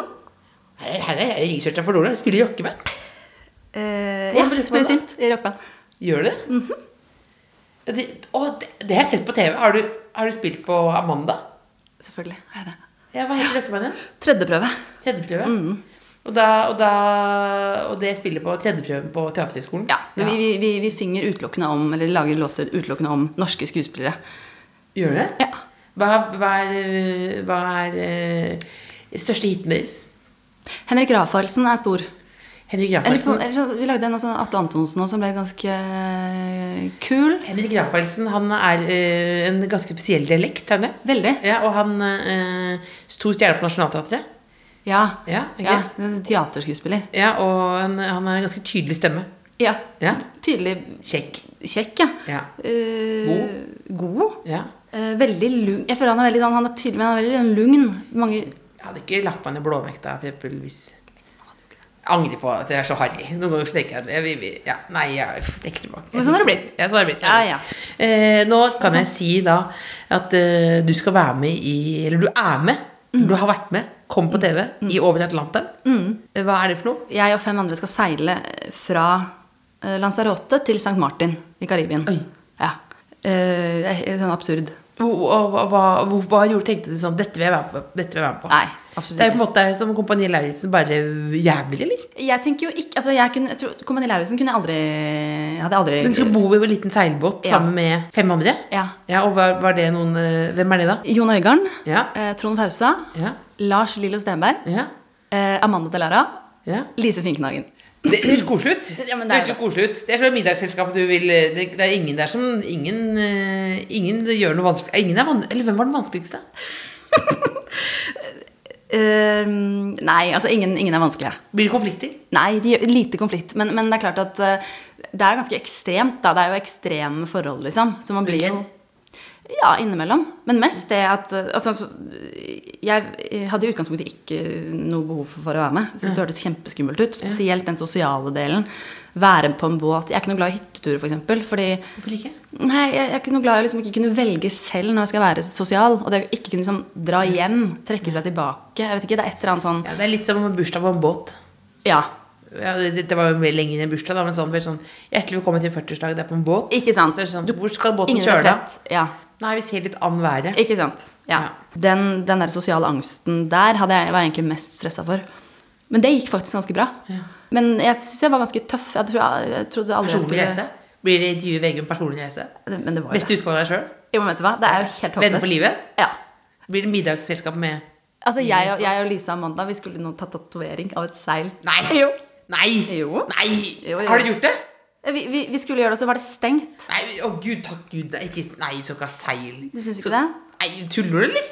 [SPEAKER 3] Her her er jeg researcha for dårlig. Spiller du rockeband?
[SPEAKER 4] Eh,
[SPEAKER 3] Hvordan
[SPEAKER 4] ja,
[SPEAKER 3] bruker man
[SPEAKER 4] spiller
[SPEAKER 3] det?
[SPEAKER 4] synt i rockeband.
[SPEAKER 3] Gjør du det?
[SPEAKER 4] Mhm.
[SPEAKER 3] Ja, det, å, det, det har jeg sett på TV. Har du, har du spilt på Amanda?
[SPEAKER 4] Selvfølgelig har jeg det.
[SPEAKER 3] Ja, hva heter rockebandet?
[SPEAKER 4] Tredjeprøve.
[SPEAKER 3] Tredjeprøve?
[SPEAKER 4] Mhm.
[SPEAKER 3] Og, da, og, da, og det spiller på tredjeprøven på Teaterhøgskolen?
[SPEAKER 4] Ja, men Vi, vi, vi, vi synger utelukkende om, eller lager låter utelukkende om norske skuespillere.
[SPEAKER 3] Gjør du det?
[SPEAKER 4] Ja.
[SPEAKER 3] Hva, hva er, hva er eh, største hiten deres?
[SPEAKER 4] Henrik Rafaelsen er stor.
[SPEAKER 3] Henrik
[SPEAKER 4] Eller, så-
[SPEAKER 3] Rafaelsen.
[SPEAKER 4] eller sånn- så, vi lagde en av sånne Atle Antonsen også, som ble ganske eh, kul.
[SPEAKER 3] Henrik Rafaelsen han er eh, en ganske spesiell dialekt, er han det?
[SPEAKER 4] Veldig.
[SPEAKER 3] Ja, og han eh, Stor stjerne på Nationaltheatret.
[SPEAKER 4] Ja.
[SPEAKER 3] Ja, ok.
[SPEAKER 4] ja. en Teaterskuespiller.
[SPEAKER 3] Ja, og han, han har en ganske tydelig stemme.
[SPEAKER 4] Ja.
[SPEAKER 3] Ja.
[SPEAKER 4] Tydelig
[SPEAKER 3] Kjekk.
[SPEAKER 4] kjekk, ja.
[SPEAKER 3] Ja.
[SPEAKER 4] Eh, god.
[SPEAKER 3] Ja.
[SPEAKER 4] Eh, veldig lugn. Jeg føler han er veldig sånn, han er tydelig, men han er veldig lugn. Mange,
[SPEAKER 3] Jeg hadde ikke lagt meg ned blåvekta, for eksempel, hvis jeg angrer på at jeg er så harry. Noen ganger så tenker jeg at jeg, vil- vil- ja, Nei, jeg trekker tilbake.
[SPEAKER 4] Men sånn har det blitt.
[SPEAKER 3] Ja, sånn har det blitt. sånn
[SPEAKER 4] Ja,
[SPEAKER 3] har det
[SPEAKER 4] Sånn.
[SPEAKER 3] blitt. Eh, nå kan jeg si da at eh, du skal være med i Eller du er med.
[SPEAKER 4] Mm.
[SPEAKER 3] Du har vært med. Kom på TV i Over Atlanteren. Eh, Hva er det for noe?
[SPEAKER 4] jeg og fem andre skal seile fra eh, Lanzarote til St. Martin i Karibien.
[SPEAKER 3] Oi.
[SPEAKER 4] Ja. Eh, det er sånn absurd.
[SPEAKER 3] Hvor- og Hva, hva, hvor- hva gjorde, tenkte du sånn Dette vil jeg være med på. Dette vil jeg være med på.
[SPEAKER 4] Nei, absolutt
[SPEAKER 3] det er jo på
[SPEAKER 4] ikke.
[SPEAKER 3] en måte som Kompani Lauritzen, bare jævlig, eller?
[SPEAKER 4] Jeg tenker jo ikke, altså jeg kunne, jeg tror, Kompani Lauritzen kunne jeg aldri, jeg hadde aldri...
[SPEAKER 3] Hun skulle bo i en liten seilbåt
[SPEAKER 4] Ja.
[SPEAKER 3] sammen med fem andre.
[SPEAKER 4] Ja.
[SPEAKER 3] og var, var det noen eh, Hvem er det, da?
[SPEAKER 4] Jon Øygarden,
[SPEAKER 3] Ja.
[SPEAKER 4] eh, Trond Fausa,
[SPEAKER 3] Ja.
[SPEAKER 4] Lars Lillo Stenberg,
[SPEAKER 3] Ja.
[SPEAKER 4] eh, Amanda Delara,
[SPEAKER 3] ja.
[SPEAKER 4] Lise Finknagen.
[SPEAKER 3] Det høres koselig ut.
[SPEAKER 4] Ja,
[SPEAKER 3] det
[SPEAKER 4] men det er
[SPEAKER 3] høres jo koselig ut. Det er som et middagsselskap du vil eh, Det, det er ingen der som Ingen, eh, ingen gjør noe vanskelig Eh, ingen er van, Eller hvem var den vanskeligste?
[SPEAKER 4] Eh, nei, altså ingen, ingen er vanskelige.
[SPEAKER 3] Blir det konflikter?
[SPEAKER 4] Nei, de, lite konflikt. Men, men det er klart at eh, det er ganske ekstremt. Da. Det er jo ekstreme forhold, liksom. Så man blir jo
[SPEAKER 3] Redd?
[SPEAKER 4] Ja, innimellom. Men mest det at eh, altså, så- Jeg hadde i utgangspunktet ikke noe behov for å være med. Jeg synes det hørtes kjempeskummelt ut. Spesielt den sosiale delen. Være på en båt. Jeg er ikke noe glad i hytteturer, f.eks. For eksempel, fordi
[SPEAKER 3] Hvorfor ikke?
[SPEAKER 4] Nei, jeg, jeg er ikke noe glad i å liksom ikke kunne velge selv når jeg skal være sosial. Og det å ikke kunne liksom dra hjem, trekke seg tilbake. Jeg vet ikke, Det er et eller annet sånn
[SPEAKER 3] Ja, det er litt som en bursdag på en båt.
[SPEAKER 4] Ja,
[SPEAKER 3] Ja, det, det- det var jo mer lenger enn en bursdag, da, men sånn, det er sånn Hjertelig velkommen til 40-årsdag, det er på en båt.
[SPEAKER 4] ikke sant?
[SPEAKER 3] Så er det sånn, hvor skal båten
[SPEAKER 4] Ingen
[SPEAKER 3] kjøre, da?
[SPEAKER 4] retrett. Ja,
[SPEAKER 3] Nei, vi ser litt an været.
[SPEAKER 4] ikke sant? Ja. Den, den der sosiale angsten der hadde jeg, var jeg egentlig mest stressa for. Men det gikk faktisk ganske bra. Men jeg syns jeg var ganske tøff. Jeg, tror, jeg trodde aldri jeg
[SPEAKER 3] Personlig
[SPEAKER 4] skulle
[SPEAKER 3] reise? Blir det intervju i VG om personlig reise?
[SPEAKER 4] Det- Men det var jo
[SPEAKER 3] Beste
[SPEAKER 4] det.
[SPEAKER 3] utgave av deg sjøl?
[SPEAKER 4] Jo, men vet du hva? Det er jo helt håpløst.
[SPEAKER 3] Venner på livet?
[SPEAKER 4] Ja.
[SPEAKER 3] Blir det middagsselskap med
[SPEAKER 4] Altså, jeg, og- jeg og Lisa Amanda vi skulle nå ta tatovering av et seil.
[SPEAKER 3] Nei!
[SPEAKER 4] Jo.
[SPEAKER 3] Nei!
[SPEAKER 4] Jo.
[SPEAKER 3] Nei!
[SPEAKER 4] Jo, jo.
[SPEAKER 3] Har du gjort det?
[SPEAKER 4] Vi, vi, vi skulle gjøre det, og så var det stengt.
[SPEAKER 3] Nei, å gud, takk gud. Nei, ikke, nei så ikke ha seil.
[SPEAKER 4] Du syns ikke
[SPEAKER 3] Så-
[SPEAKER 4] det?
[SPEAKER 3] Nei, tuller du, eller?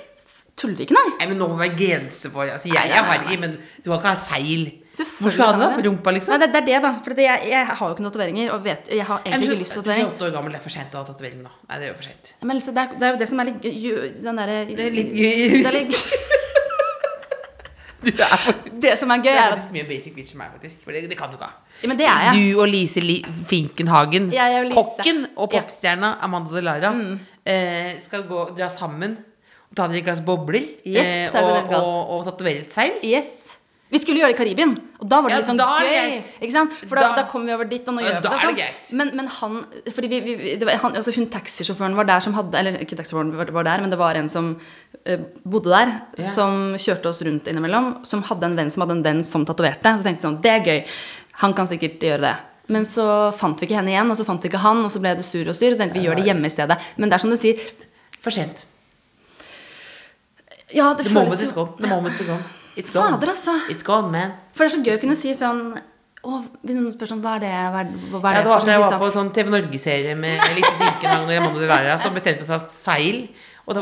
[SPEAKER 4] Tuller ikke, nei.
[SPEAKER 3] Nei, men nå må det være grenser for Altså,
[SPEAKER 4] Nei,
[SPEAKER 3] jeg
[SPEAKER 4] nei,
[SPEAKER 3] er
[SPEAKER 4] nei,
[SPEAKER 3] harry, men du kan ikke ha seil.
[SPEAKER 4] Selvfølgelig
[SPEAKER 3] Hvor skal du ha
[SPEAKER 4] kan
[SPEAKER 3] det? da?
[SPEAKER 4] man
[SPEAKER 3] På rumpa, liksom?
[SPEAKER 4] Nei, det, det er det, da. For jeg, jeg har jo ikke notatoveringer. Og vet, jeg har
[SPEAKER 3] Nei, men
[SPEAKER 4] egentlig ikke lyst til
[SPEAKER 3] du, du er
[SPEAKER 4] tatovering.
[SPEAKER 3] 28 år gammel, det er for sent å ha tatovering nå. Nei, det er jo for sent.
[SPEAKER 4] Men Else, det er, det er jo det som er litt ju- den derre
[SPEAKER 3] Det er litt
[SPEAKER 4] Det, er litt-
[SPEAKER 3] Du er faktisk
[SPEAKER 4] det som er gøy,
[SPEAKER 3] det er
[SPEAKER 4] er at
[SPEAKER 3] faktisk mye basic bitch som meg, faktisk. For det, det kan du ikke ha.
[SPEAKER 4] Ja, Men det er jeg.
[SPEAKER 3] Du og Lise Li Finkenhagen,
[SPEAKER 4] Jeg er jo Lise.
[SPEAKER 3] kokken og
[SPEAKER 4] Ja. Mm.
[SPEAKER 3] popstjerna Amanda Delara, eh, skal gå, dra sammen og ta dere et glass bobler eh,
[SPEAKER 4] Jepp, det er
[SPEAKER 3] og,
[SPEAKER 4] det vi skal.
[SPEAKER 3] og, og tatovere et seil.
[SPEAKER 4] Yes. Vi skulle gjøre det i Karibien, og da var det
[SPEAKER 3] Ja,
[SPEAKER 4] litt sånn
[SPEAKER 3] da er det
[SPEAKER 4] gøy.
[SPEAKER 3] greit.
[SPEAKER 4] Ikke sant? For da,
[SPEAKER 3] Da-
[SPEAKER 4] da kom vi over dit, og nå
[SPEAKER 3] Ja,
[SPEAKER 4] gjør
[SPEAKER 3] da
[SPEAKER 4] vi det. og
[SPEAKER 3] er det
[SPEAKER 4] sånn.
[SPEAKER 3] greit.
[SPEAKER 4] Men, men han Fordi vi, vi, vi- det var, han, altså hun taxisjåføren var der som hadde Eller ikke taxisjåføren var var der, men det var en som eh, bodde der,
[SPEAKER 3] Ja.
[SPEAKER 4] som kjørte oss rundt innimellom, som hadde en venn som hadde en venn som tatoverte. Så tenkte vi sånn, det er gøy. Han kan sikkert gjøre det. Men så fant vi ikke henne igjen, og så fant vi ikke han, og så ble det sur og styr. Så tenkte vi gjør det hjemme i stedet. Men det er som du sier,
[SPEAKER 3] For sent.
[SPEAKER 4] ja, det
[SPEAKER 3] The moment
[SPEAKER 4] føles
[SPEAKER 3] is
[SPEAKER 4] jo
[SPEAKER 3] gone. The moment is gone. It's gone.
[SPEAKER 4] Fader, altså.
[SPEAKER 3] It's gone, man.
[SPEAKER 4] For det er så gøy å kunne si sånn å, Hvis noen spør sånn, hva er det, hva er, hva er
[SPEAKER 3] Ja, det
[SPEAKER 4] det
[SPEAKER 3] var
[SPEAKER 4] for
[SPEAKER 3] da jeg
[SPEAKER 4] noe, så
[SPEAKER 3] var
[SPEAKER 4] sier
[SPEAKER 3] på
[SPEAKER 4] sånn,
[SPEAKER 3] en sånn TV Norge-serie med Lise Finkenhagen og Amanda Delara, som bestemte seg for å ta seil. Og, da,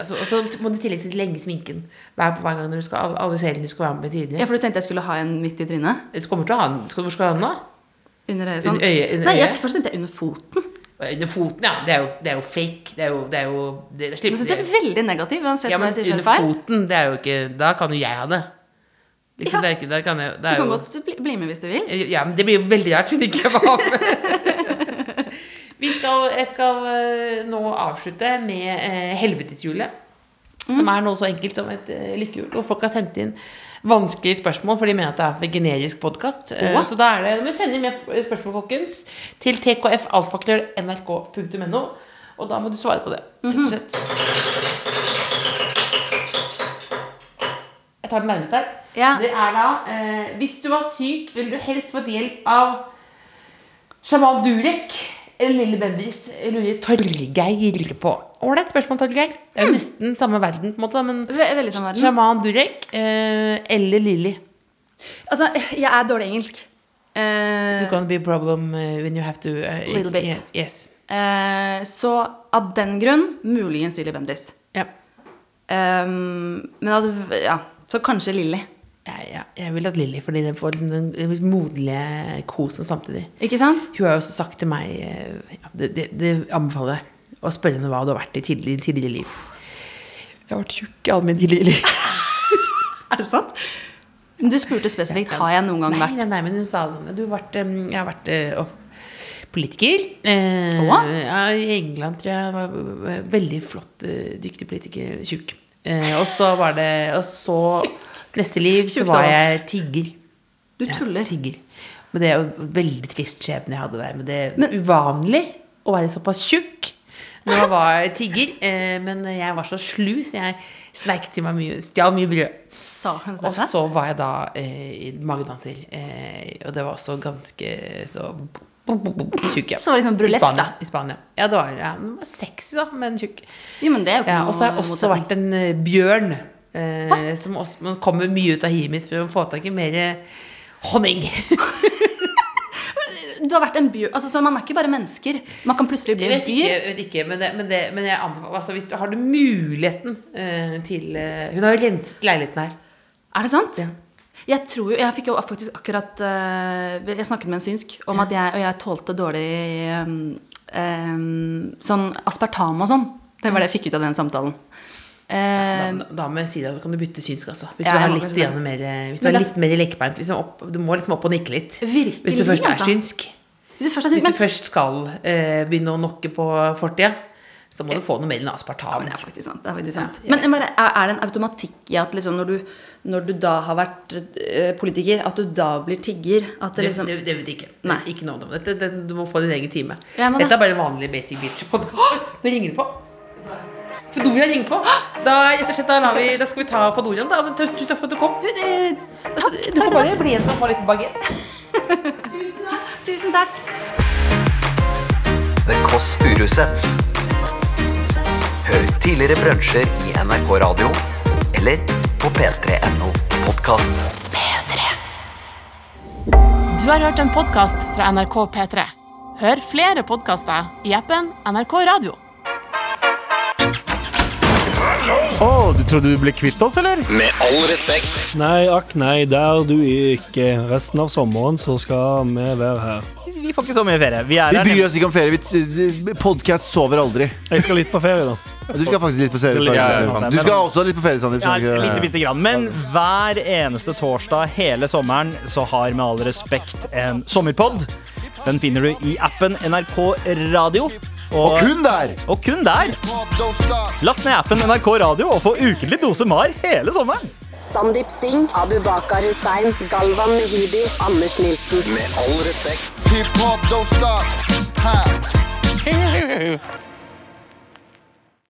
[SPEAKER 3] altså, og så må du i tillegg sitte lenge i sminken hver, hver gang du skal, alle- alle seriene du skal være med på tidligere.
[SPEAKER 4] Ja, for du tenkte jeg skulle ha en midt i trynet?
[SPEAKER 3] Du kommer til å ha den. Skal, hvor skal du ha den, da?
[SPEAKER 4] Under øyet? Sånn.
[SPEAKER 3] Under øyet, under
[SPEAKER 4] Nei, jeg,
[SPEAKER 3] øyet?
[SPEAKER 4] først tenkte jeg under foten.
[SPEAKER 3] Under foten, ja. Det er jo, det er jo fake. Det er jo, det er jo det, det
[SPEAKER 4] Du
[SPEAKER 3] slipper,
[SPEAKER 4] synes det er veldig negativ uansett
[SPEAKER 3] ja,
[SPEAKER 4] hva
[SPEAKER 3] men
[SPEAKER 4] jeg sier selv
[SPEAKER 3] under
[SPEAKER 4] feil.
[SPEAKER 3] foten, det er jo ikke Da kan jo jeg ha det. Liksom,
[SPEAKER 4] Ja.
[SPEAKER 3] det er ikke, der kan jeg, det
[SPEAKER 4] Du
[SPEAKER 3] er
[SPEAKER 4] kan
[SPEAKER 3] jo,
[SPEAKER 4] godt bli, bli med hvis du vil.
[SPEAKER 3] Ja, men det blir jo veldig rart siden ikke jeg var med. Vi skal, jeg skal eh, nå avslutte med eh, helveteshjulet.
[SPEAKER 4] Mm.
[SPEAKER 3] Som er noe så enkelt som et eh, lykkehjul. Og folk har sendt inn vanskelige spørsmål, for de mener at det er for generisk podkast.
[SPEAKER 4] Åh.
[SPEAKER 3] Så da er det Men send inn mer spørsmål, folkens, til tkfalfakrøll.nrk.no. Og da må du svare på det, rett
[SPEAKER 4] Mhm.
[SPEAKER 3] og slett. Jeg tar den nærmeste her.
[SPEAKER 4] Ja.
[SPEAKER 3] Det er da eh, Hvis du var syk, ville du helst fått hjelp av Sjaman Durek eller Lille Bendis lurer Torgeir på. Ålreit spørsmål, Torgeir. Det er jo nesten samme verden, på en måte, da, men
[SPEAKER 4] Ve veldig samme verden.
[SPEAKER 3] Sjaman Durek eh, eller Lilly.
[SPEAKER 4] Altså, jeg er dårlig engelsk. Eh,
[SPEAKER 3] It's gonna be a problem eh, when you have to eh,
[SPEAKER 4] Little bit.
[SPEAKER 3] Yes. yes.
[SPEAKER 4] eh, så av den grunn muligens Lilly Bendriss. Ehm,
[SPEAKER 3] Ja.
[SPEAKER 4] men av, ja, så kanskje Lilly.
[SPEAKER 3] Ja, ja. Jeg vil at Lilly, fordi den får liksom den moderlige kosen samtidig.
[SPEAKER 4] Ikke sant?
[SPEAKER 3] Hun har jo også sagt til meg eh, ja, det, det, det anbefaler jeg å spørre henne hva du har vært i tidligere, tidligere liv. Jeg har vært tjukk i alle mine tidligere liv.
[SPEAKER 4] Er det sant? Du spurte spesifikt har jeg noen gang
[SPEAKER 3] Nei,
[SPEAKER 4] vært
[SPEAKER 3] nei, nei, men hun sa det. Du har vært, eh, jeg har vært eh, opp- politiker. Eh,
[SPEAKER 4] Åh?
[SPEAKER 3] ja, I England tror jeg var eh, veldig flott, eh, dyktig politiker. Tjukk. Eh, og så var det Og så Neste liv så
[SPEAKER 4] Tjukk
[SPEAKER 3] var
[SPEAKER 4] sa han.
[SPEAKER 3] jeg tigger.
[SPEAKER 4] Du tuller.
[SPEAKER 3] Ja, tigger. Men det er jo veldig trist skjebne jeg hadde der. Men det er
[SPEAKER 4] Men-
[SPEAKER 3] uvanlig å være såpass tjukk. Nå var jeg tigger, eh, men jeg var så slu, så jeg sneik til meg mye, stjal mye brød.
[SPEAKER 4] Sa hun
[SPEAKER 3] Og
[SPEAKER 4] dette?
[SPEAKER 3] så var jeg da eh, i magedanser, eh, og det var også ganske så tjukk. Ja.
[SPEAKER 4] Så var det liksom
[SPEAKER 3] I
[SPEAKER 4] burlesk,
[SPEAKER 3] Spania,
[SPEAKER 4] da.
[SPEAKER 3] I Spania. Ja, det var, ja, den var sexy, da, men tjukk.
[SPEAKER 4] Jo, men det er jo ikke
[SPEAKER 3] Ja, og så har jeg også
[SPEAKER 4] motsetning.
[SPEAKER 3] vært en eh, bjørn. Eh, som også, man kommer mye ut av hiet mitt for å få tak i mer eh, honning.
[SPEAKER 4] Du har vært en bjør... Altså, så man er ikke bare mennesker. Man kan plutselig bli
[SPEAKER 3] Jeg
[SPEAKER 4] et
[SPEAKER 3] vet ikke,
[SPEAKER 4] dyr.
[SPEAKER 3] jeg vet ikke men, det, men, det, men jeg anbefaler altså, Hvis du har du muligheten eh, til eh, Hun har jo renset leiligheten her.
[SPEAKER 4] Er det sant?
[SPEAKER 3] Ja.
[SPEAKER 4] Jeg tror jo, jeg fikk jo faktisk akkurat eh, Jeg snakket med en synsk om at jeg, og jeg tålte dårlig eh, eh, sånn aspartam og sånn. Det var det jeg fikk ut av den samtalen.
[SPEAKER 3] Da,
[SPEAKER 4] Eh,
[SPEAKER 3] da, da må jeg si deg, da kan du bytte synsk, altså. Hvis
[SPEAKER 4] Ja,
[SPEAKER 3] du
[SPEAKER 4] jeg
[SPEAKER 3] har
[SPEAKER 4] må
[SPEAKER 3] litt
[SPEAKER 4] kanskje det.
[SPEAKER 3] grann mer, eh, hvis du
[SPEAKER 4] Men
[SPEAKER 3] er
[SPEAKER 4] det-
[SPEAKER 3] litt mer lekbeint. Hvis du, er opp, du må liksom opp og nikke litt.
[SPEAKER 4] Virkelig,
[SPEAKER 3] hvis du først er
[SPEAKER 4] altså.
[SPEAKER 3] synsk.
[SPEAKER 4] hvis du først har
[SPEAKER 3] Hvis
[SPEAKER 4] synsk,
[SPEAKER 3] du
[SPEAKER 4] men,
[SPEAKER 3] først skal eh, begynne å nokke på fortida, så må du få noe mer enn
[SPEAKER 4] ja,
[SPEAKER 3] aspartam.
[SPEAKER 4] men det er faktisk sant. Det er faktisk sant.
[SPEAKER 3] Ja, ja.
[SPEAKER 4] Men jeg bare, er, er det en automatikk i at liksom når du, når du da har vært eh, politiker, at du da blir tigger? At det
[SPEAKER 3] Det,
[SPEAKER 4] liksom
[SPEAKER 3] det, det vet jeg ikke.
[SPEAKER 4] Nei.
[SPEAKER 3] Ikke noe om det. Det- det- Du må få din egen time.
[SPEAKER 4] Ja, men det-
[SPEAKER 3] Dette er bare en vanlig basic bitch-podkast. Nå ringer det på. Fodoria ringer på. Da, rett og slett, da, lar vi, da skal vi ta Fodoriaen, da. Men Tusen takk for at du kom. Altså,
[SPEAKER 4] Du, eh, takk,
[SPEAKER 3] du
[SPEAKER 4] takk,
[SPEAKER 3] får bare
[SPEAKER 4] takk.
[SPEAKER 3] bli en som får litt bagett.
[SPEAKER 4] Tusen takk.
[SPEAKER 2] The Kåss Furuseths. Hør tidligere brunsjer i NRK Radio eller på p3.no podkast. P3.
[SPEAKER 1] Du har hørt en podkast fra NRK P3. Hør flere podkaster i appen NRK Radio.
[SPEAKER 6] Å, du trodde du ble kvitt oss, eller?
[SPEAKER 7] Med all respekt.
[SPEAKER 8] Nei, akk nei, der du ikke. Resten av sommeren så skal vi være her.
[SPEAKER 6] Vi får ikke så mye ferie. Vi er
[SPEAKER 9] Vi
[SPEAKER 6] her
[SPEAKER 9] bryr
[SPEAKER 6] nede.
[SPEAKER 9] oss ikke om ferie. Vi- Podcast sover aldri.
[SPEAKER 8] Jeg skal litt på ferie, da.
[SPEAKER 9] Du skal faktisk litt på
[SPEAKER 6] Ja,
[SPEAKER 9] ferie.
[SPEAKER 6] ja, ja.
[SPEAKER 9] Du skal også litt på ferie, Sandeep.
[SPEAKER 6] Ja,
[SPEAKER 9] skal du ikke det?
[SPEAKER 6] lite, bitte grann. Men hver eneste torsdag hele sommeren så har Med all respekt en sommerpod. Den finner du i appen NRK Radio.
[SPEAKER 9] Og kun der!
[SPEAKER 6] og kun der! Last ned appen NRK Radio og få ukentlig dose MAR hele sommeren.
[SPEAKER 10] Sandeep Singh, Abu Bakar Hussein, Galvan Mehidi, Anders Nilsen.
[SPEAKER 7] Med all respekt.